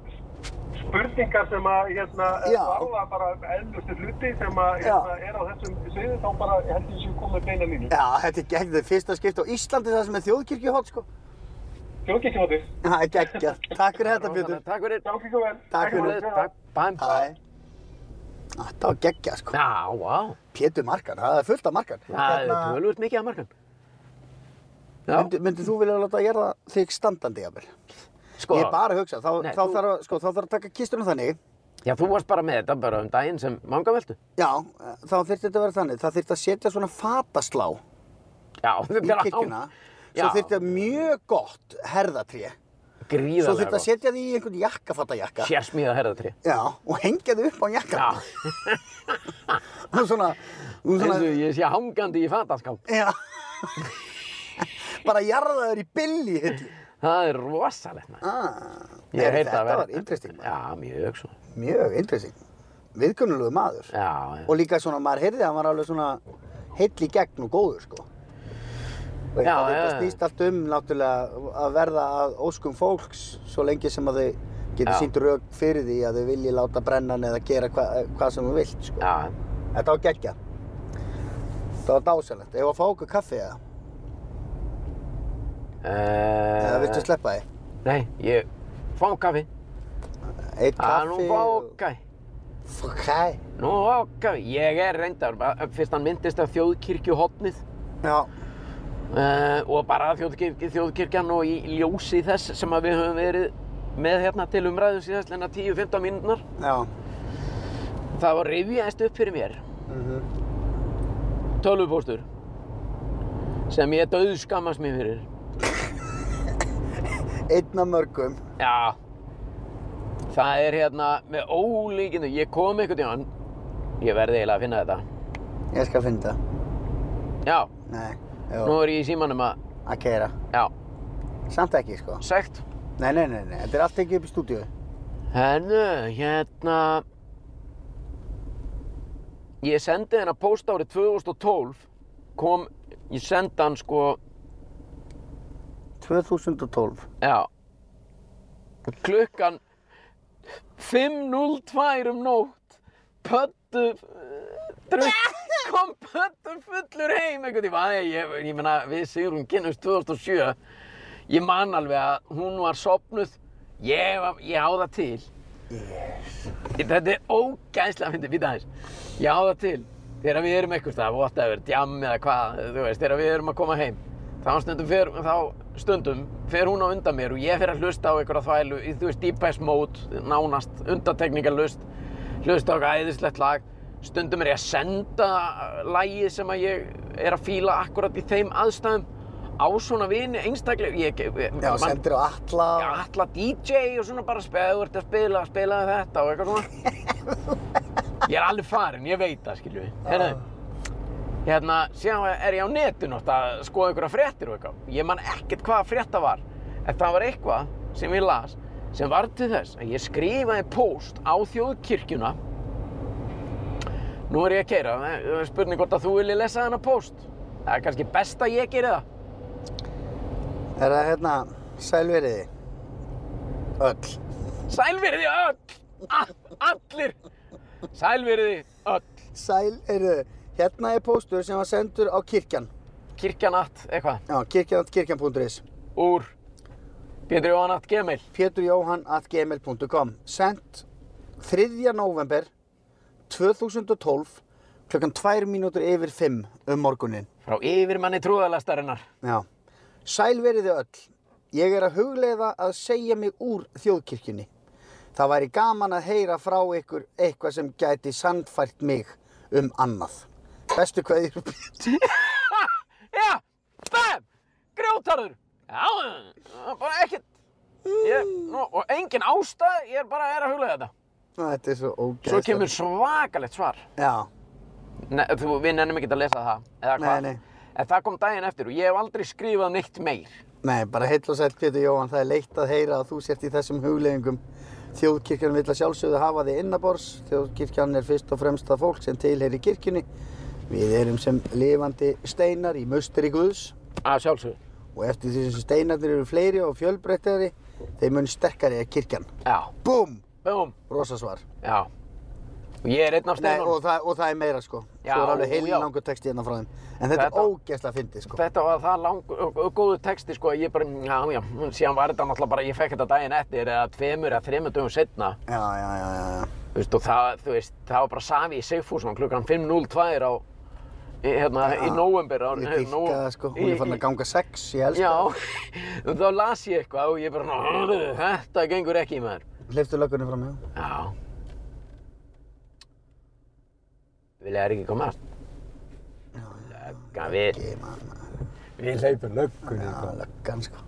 spurningar sem að hérna, Já. varða bara eðlustu hluti sem að hérna, er á þessum sviði þá bara heldur ég séu komið beina línu. Já, þetta er gegn þau fyrsta skipt á Íslandi það sem er þjóðkirkjuhótt, sko. Þjóðkirkjóðið, Það er geggjað. Takk fyrir þetta, Pétur. Takk fyrir. sjá ekki svo vel. Takk fyrir. Sömuleiðis. Takk. Bæm. Hæ. Þetta var geggjað, sko. Já, vá. Pétur Markan, það er fullt af Markan. Það Hérna- er tölvöld mikið að markan. Já, Myndi, myndi þú vilja láta gera þig standandi, jafnvel? sko. Ég er bara að hugsa. Þá, Nei, þá, þú- þarf að, sko, þá þarf að taka kistunum þannig. Já, þú varst bara með þetta bara um daginn sem mangaveltu. Já, þá þyrfti þetta að vera þannig. Það þyrfti að setja svona fataslá Já, í þetta kirkjuna. Já. Svo þyrfti að mjög gott herðatré. Gríðarlega. Svo þurfti að gott. setja því í einhvern jakkafattajakka. Sérsmíða herðatri. Já, og hengja því upp á Já, jakkan. Og svona, og svona, þessu ég sé hangandi í fataskáp. já. Bara jarðaður í billi hilli. Það er rosalegt maður. Ah, Ég hef heyrt þetta að vera- var interesting, maður. Já, mjög svo. mjög interesting. Viðkunnulegu maður. Já, já. Og líka svona, maður heyrði að hann var alveg svona heill í gegn og góður, sko. Veit, Já, já, þetta já, já. snýst allt um náttúrulega að verða að óskum fólks svo lengi sem að þau getur Já. sínt rauk fyrir því að þau vilji láta brennan eða gera hva, hvað sem þú vilt, sko. Já, Þetta var geggja. Þetta var dásalegt. Ég var að fá okkur kaffi eða? Eða uh, viltu sleppa því? Nei, ég fá kaffi. Eitt Já, Ah, nú kaffi fá og... kaffi. Fokkai. Nú fá kaffi. Ég er reyndar, bara- eh, fyrst hann myndist af þjóðkirkjuhotnið Já. uh, og bara þjóðkirk, þjóðkirkjan og í ljósi þess sem að við höfum verið með hérna til umræðu síðast lena 10-15 mínúnar. Já. Það var rifjaðist upp fyrir mér Mhm. tölvupóstur sem ég döðskammast mér fyrir Einn af mörgum. Já Það er hérna með ólíkindu Ég kom einhvern tímann Ég verði eiginlega að finna þetta Ég skal finna það. Já, Nei, jú, nú er ég í símanum að að keira. Já, Samt ekki, sko. sagt Nei, nei, nei, nei, þetta er allt ekki upp í stúdíu. Herðu, hérna Ég sendi þennan póst árið 2012 Kom, ég sendi hann sko 2012. Já Klukkan 5.02 um nótt Pöttu Drukk Kom pöttu fullur heim einhvern tíma Æ, ég, ég meina við Sigrun kynnumst 2007 Ég man alveg að hún var sopnuð Ég, var- ég á það til yes. Þetta er ógæðslega myndi býta þess Ég á það til Þegar við erum eitthvað stað, whatever, djam eða hvað, þú veist, þegar við erum að koma heim þá stundum, fer, þá stundum fer hún á undan mér og ég fer að hlusta á einhverja þvælu í, þú veist, deepest mode, nánast, undantekningarlust, hlusta á eitthvað æðislegt lag, stundum er ég að senda lagið sem að ég er að fíla akkurat í þeim aðstæðum á svona vini, einstaklega, ég, ég Já, man- sendir á alla. Já, alla DJ og svona bara spila, þú ert að spila, spila þetta og eitthvað svona. ég er alveg farinn, ég veit það, skilju. Hérna, hérna, síðan er ég á netinu átt að skoða einhverja fréttir og eitthvað. Ég man ekkert hvaða frétta var, en það var eitthvað sem ég las sem var til þess að ég skrifaði post á þjóðkirkjuna. Nú er ég að keira, það er spurning hvort að þú vilji lesa þennan post. Það er kannski best að ég geri það. Er það hérna, sælveriði? Öll. Sælveriði öll, A- allir, sælveriði öll, Sæl, eru, hérna er póstur sem var sendur á kirkjan. kirkjanatt, eitthvað, Já, kirkjan, kirkjan.is. úr Pétur Jóhannatt Gemil. peturjóhann.gmail.com Sendt 3. november 2012 klukkan 2 mínútur yfir 5 um morgunin. Frá yfirmanni trúðalastarinnar. Já. Sæl veriði öll. Ég er að hugleiða að segja mig úr þjóðkirkjunni. Það væri gaman að heyra frá ykkur eitthvað sem gæti sannfært mig um annað. Bestu kveðjur Pétur. Já, bæm, grjótarður, já, það er bara ekkert, ég, nú, og engin ástæð, ég er bara er að huglega þetta. Þetta er svo ógæðst. Svo kemur svakalegt svar. Já, Nei, þú, við nennum ekki að lesa það, eða Nei, hvað. nei. En það kom daginn eftir og ég hef aldrei skrifað neitt meir. nei, bara heill og sæll Pétur Jóhann. Það er leitt að heyra að þú sért í þessum hugleiðingum. Þjóðkirkjan vill að sjálfsögðu hafa þig innabors. Þjóðkirkjan er fyrst og fremst það fólk sem tilheyri kirkjunni. Við erum sem lifandi steinar í musteri Guðs. Að sjálfsögðu. og eftir því sem steinarnir eru fleiri og fjölbreyttari, þeim mun sterkari er kirkjan. Já, Búm! búm, Rosa svar. já. Og ég er einn af Nei, steinunum. og, það, og það er meira sko. Já, Svo er alveg heil já. langur texti hérna frá þeim. En þetta er Þetta- ógeðslega fyndið sko. Þetta var það langur og, og góðu texti sko, ég bara, já, já, síðan var þetta náttúrulega bara, ég fekk þetta daginn eftir eða tveimur eða þreimur dögum setna, Já, já, já, já, já. þú veist, og það, þú veist, það var bara Savi í Sigfússon klukkan 5.02 á, í, hérna, í nóvember. á- Ah, Ég dyrka nóv- það sko. Hún í- er farin að ganga sex, ég elska Já, það. og þá las ég eitthvað og ég bara, "Hörðu, þetta gengur ekki í maður. Hleyftu löggunni fram, já. Já. Vil ég er ekki komast? Löggan, við, Ég maður, maður. við hleypum löggunni. Já, löggan sko.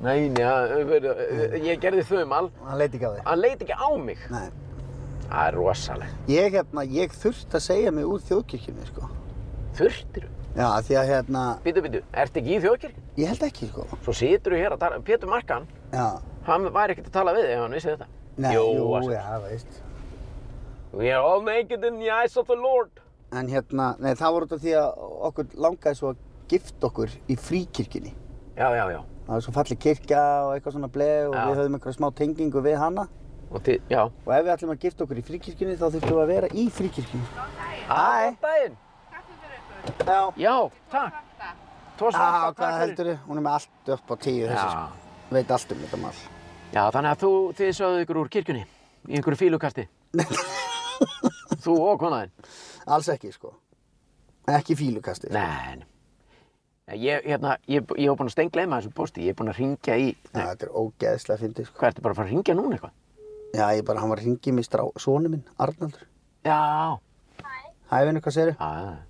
Nei, njá, ég gerði þau um all, Hann leiti ekki á þig. hann leit ekki á mig. Nei. Það er rosalegt. Ég hérna, ég þurft að segja mig úr þjóðkirkjunni sko. Þurftir, Já, því að hérna, býtu, býtu, ertu ekki í þjóðkirkju? ég held ekki sko. Svo situr þú hér að tala, Pétur Markan, Já. hann væri ekkert að tala við þig ef hann vissi þetta. Nei, Jú, jú, að- já, veist. We are all naked in the eyes of the Lord. En hérna, nei það var út af því að okkur langaði svo að gifta okkur í fríkirkjunni. Já, já, já. Það var svo falleg kirkja og eitthvað svona blei og Já. við höfðum einhverja smá tengingu við hana. Og þið, já. Og ef við ætlum að gifta okkur í fríkirkjunni þá þurftum við að vera í fríkirkjunni. Hæ. Góðan daginn. Já. Já, takk. Tóð Já, svona, hvað heldurðu? Hún er með allt upp á tíu þessi Já. sko. Veit allt um þetta mál. Já, þannig að þú, þið sögðu ykkur úr kirkjunni, í einhverju fílukasti. þú og konaðinn. Alls ekki sko. Ekki í fílukasti. Nei, nei. Nei, Ég, hérna, ég, ég hef búin að stengleima þessu posti, ég hef búin að ringja í... Nei, Já, þetta er ógeðslega fyndið sko. hvað, ertu bara að fara að ringja núna eitthvað? Já, ég bara, hann var að ringið mig strá, sonu minn, Arnaldur. Já, Hæfinu, hvað segirðu? Já,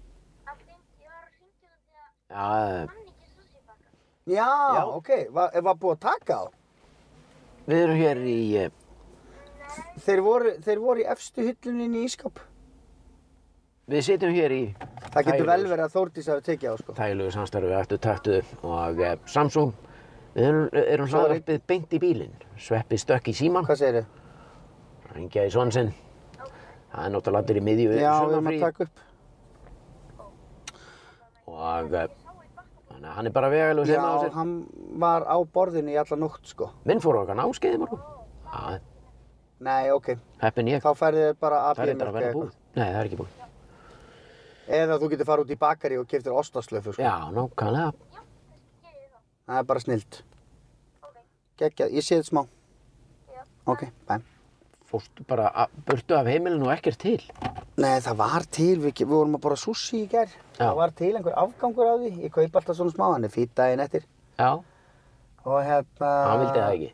Að hringi, ég var að hringja það því að já, hann ekki sushi bakar. Já, Já. ok, var, var búið að taka á? við erum hér í, eh, Þeir voru, þeir voru í efstu hylluninni í ískap. við sitjum hér í Það getur Hægri. vel verið að Þórdís hafi tekið á, sko. þægilegu samstarfi aftur taktu og eh, Samsung. Við erum, eh, erum hlaðarpið beint í bílinn. Sveppi stökk í síman, Hvað segirðu? hringja í svon sinn. Það er náttúrulega allir í miðju Já, við erum að sumarfríi. taka upp. og eh, þannig að hann er bara vegalegu Já, sem á sér. hann var á borðinu í alla nótt, sko. Minn fór á okkar námskeið í morgun. Já, Nei, ok, heppin ég. þá færðu þér bara Það er eitthvað að AB-mjölk vera búið. Nei, það er ekki búið. Eða þú getur fara út í bakari og keftir ostaslöfu, sko. Já, nákvæmlega. Það er bara snild. Geggjað, ég sé þetta smá. Ok, bæm. Fórstu bara að, burtu af heimilinu og ekkert til. Nei, það var til, við, við vorum að bora sushi í gerð. Það var til einhver afgangur af því. Ég kaup alltaf svona smá, hann er fýt daginn eftir. Já, Og hérna... hann vildi það ekki.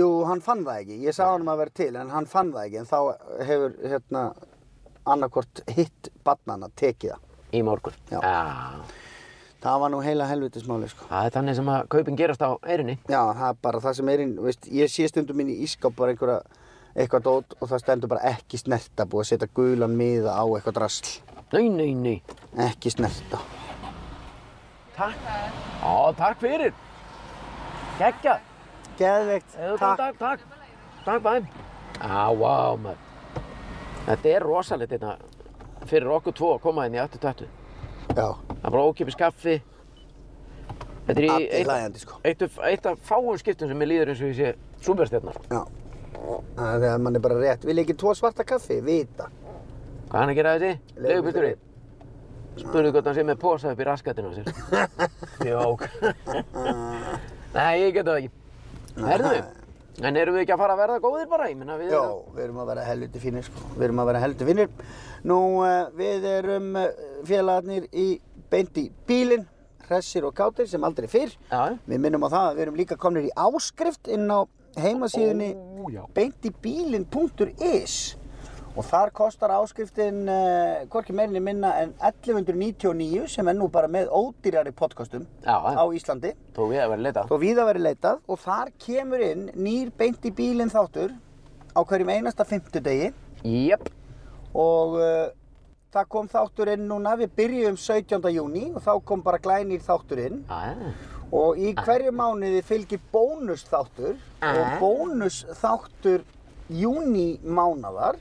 Jú, hann fann það ekki. Ég sagði honum að vera til, en hann fann það ekki. En þá hefur, hérna, annarkort hitt barnana tekið það. Í morgun. Já. Já. Það var nú heila helvitis máli, sko. Það er þannig sem að kaupin gerast á eirinni. Já, það er bara það sem er inn, veist, ég sé stundum inn í ískáp bara einhverja, eitthvað dót og það stendur bara ekki snerta, búið að setja gulan miða á eitthvað drasl. Nei, nei, nei. Ekki snerta. Ó, takk fyrir. Gekka. Geðveikt, takk. Takk, takk. Takk, bæm. Á, vá, maður. Þetta er rosalegt þetta fyrir okkur tvo að koma inn í 8.20. Já, Það er bara ókipis kaffi. Þetta er í allir eitt, hlægjandi, sko. eitt, af- eitt af fáum skiptum sem mér líður eins og ég sé súperstjarnar. Já. Það er þegar mann er bara rétt. Vil ég ekki tvo svarta kaffi? Vita. Hvað er hann að gera þessi? Leigubílstjóri. Leigubílstjóri. Spurðu hvort hann sé með posa upp í raskatinu á sér. Jók. Nei, ég geta það ekki. Herðu, en erum við ekki að fara að verða góðir bara? Ég meina við Já, við erum að vera helviti finnir, sko. Við erum að vera helviti finnir. Nú, eh, við erum félagarnir í beint í bílinn, hressir og kátir sem aldrei fyrr. Já, Við minnum á það að við erum líka komnir í áskrift inn á heimasíðunni Ó, já. beintibílin.is og þar kostar áskriftin uh, hvorki meirinni minna en 1199 sem er nú bara með ódýrari podcastum Já, já. á Íslandi þú við að vera leta. og víða verið leitað og þar kemur inn nýr beint í bílinn þáttur á hverjum einasta fimmtudegi Jöp. og uh, það kom þáttur inn núna, við byrjuðum 17. júni og þá kom bara glænýr þáttur inn Og í hverju mánuði fylgir bónusþáttur og bónusþáttur júnimánaðar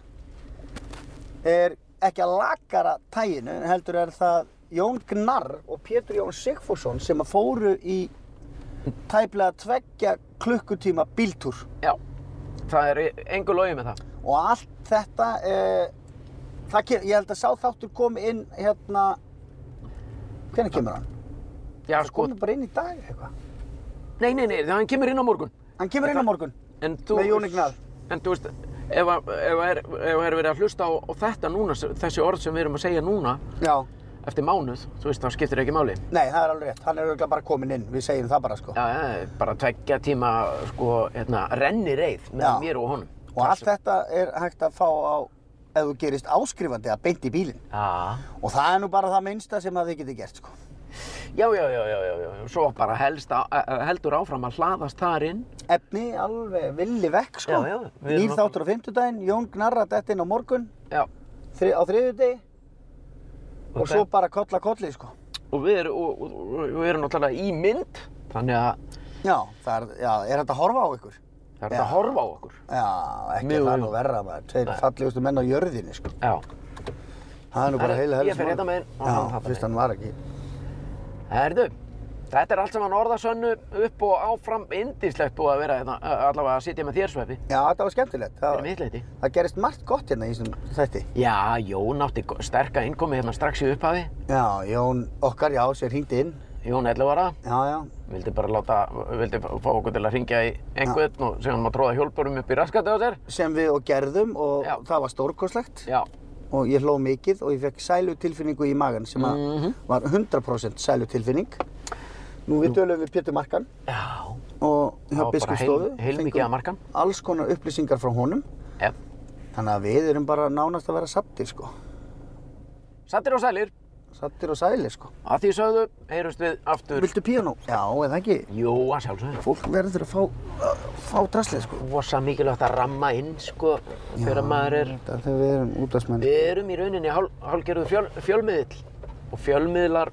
er ekki að lagara tæginu, en heldur er það Jón Gnarr og Pétur Jón Sigfússon sem að fóru í tæplega tveggja klukkutíma bíltúr. Já, það er engu logi með það. Og allt þetta, e, það, kem- ég held að sá þáttur komi inn hérna, hvernig kemur hann? Já, Það sko. komi bara inn í dag eitthvað. Nei, nei, nei, það hann kemur inn á morgun. Hann kemur inn á morgun. En þú... Með Jóni Gnarr. En þú veist, ef að ef að er, ef að er verið að hlusta á, á þetta núna, þessi orð sem við erum að segja núna, Já. eftir mánuð, þú veist, það skiptir ekki máli. Nei, það er alveg rétt. Hann er auðvitað bara komin inn. Við segjum það bara, sko. Já, já, bara tveggja tíma, sko, hérna, renni reið með Já. mér og honum. og allt þetta er hægt að fá á, ef þú gerist áskrifandi að beint í bílinn. Já. Og það er nú bara það minnsta sem að þið getið gert, sko. Já, já, já, já, já, já, svo bara helst á, eh, heldur áfram að hlaðast þar inn. Efni alveg villi vekk, sko. Já, já, við erum Nýr þáttur á fimmtudaginn, Jón Gnarra dett inn á morgun, Já. þri, á þriðjudegi Ok. og svo bara kolla kolli, sko. Og við erum, og, og, og, og við erum náttúrulega í mynd, þannig að Já, það er, já, er þetta að horfa á ykkur? það er hægt að Já. horfa á okkur. Já, ekki Mjög það vel. nú verra maður. Tveir fallegustu menn á jörðinni, sko. Já. Það er nú bara Herra, heila ég fer hérna megin og hann Já, þarna fyrst megin. hann var ekki. Herðu, þetta er allt saman orðasönnu upp og áfram indislegt búið að vera, hérna, eh, allavega að sitja með þér, Sveppi, Já, þetta var skemmtilegt. fyrir Það, mitt leiti. það gerist margt gott hérna í þessum þætti. Já, Jón átti go- sterka innkomi hérna strax í upphafi. Já, Jón okkar, já, sem hringdi inn. Jón 11 var það. Já, já, vildi bara láta, vildi fá okkur til að ringja í einhvern og segja hann að tróða hjólpurum upp í raskatið á sér. sem við og gerðum og Já. það var stórkoslegt Já, og ég hló mikið og ég fekk sælu tilfinningu í magan sem að Mhm. var 100% sælu tilfinning. Nú við tölum við Pétur Markan já, og Það hjá var bara heil- Biskupstofu. heilmikið fengum af Markan. Alls konar upplýsingar frá honum. já. Þannig að við erum bara nánast að vera sattir sko. sattir og sælir. Sattir og sælir sko. Að því sögðu, heyrumst við aftur. Viltu píanó? Já, eða ekki. Jú, að sjálfsögðu. Fólk verður að fá, að fá draslið sko. Vosa mikilvægt að ramma inn, sko, þegar maður er... Þetta er þegar við erum útdagsmenn. Við erum í rauninni hál, hálgerðu fjöl, fjölmiðill og fjölmiðlar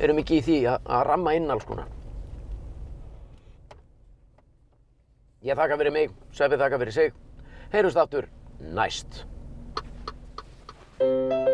eru mikið í því að, að ramma inn alls konar. Ég þakka fyrir mig, Sveppi þakka fyrir sig. Heyrumst aftur næst.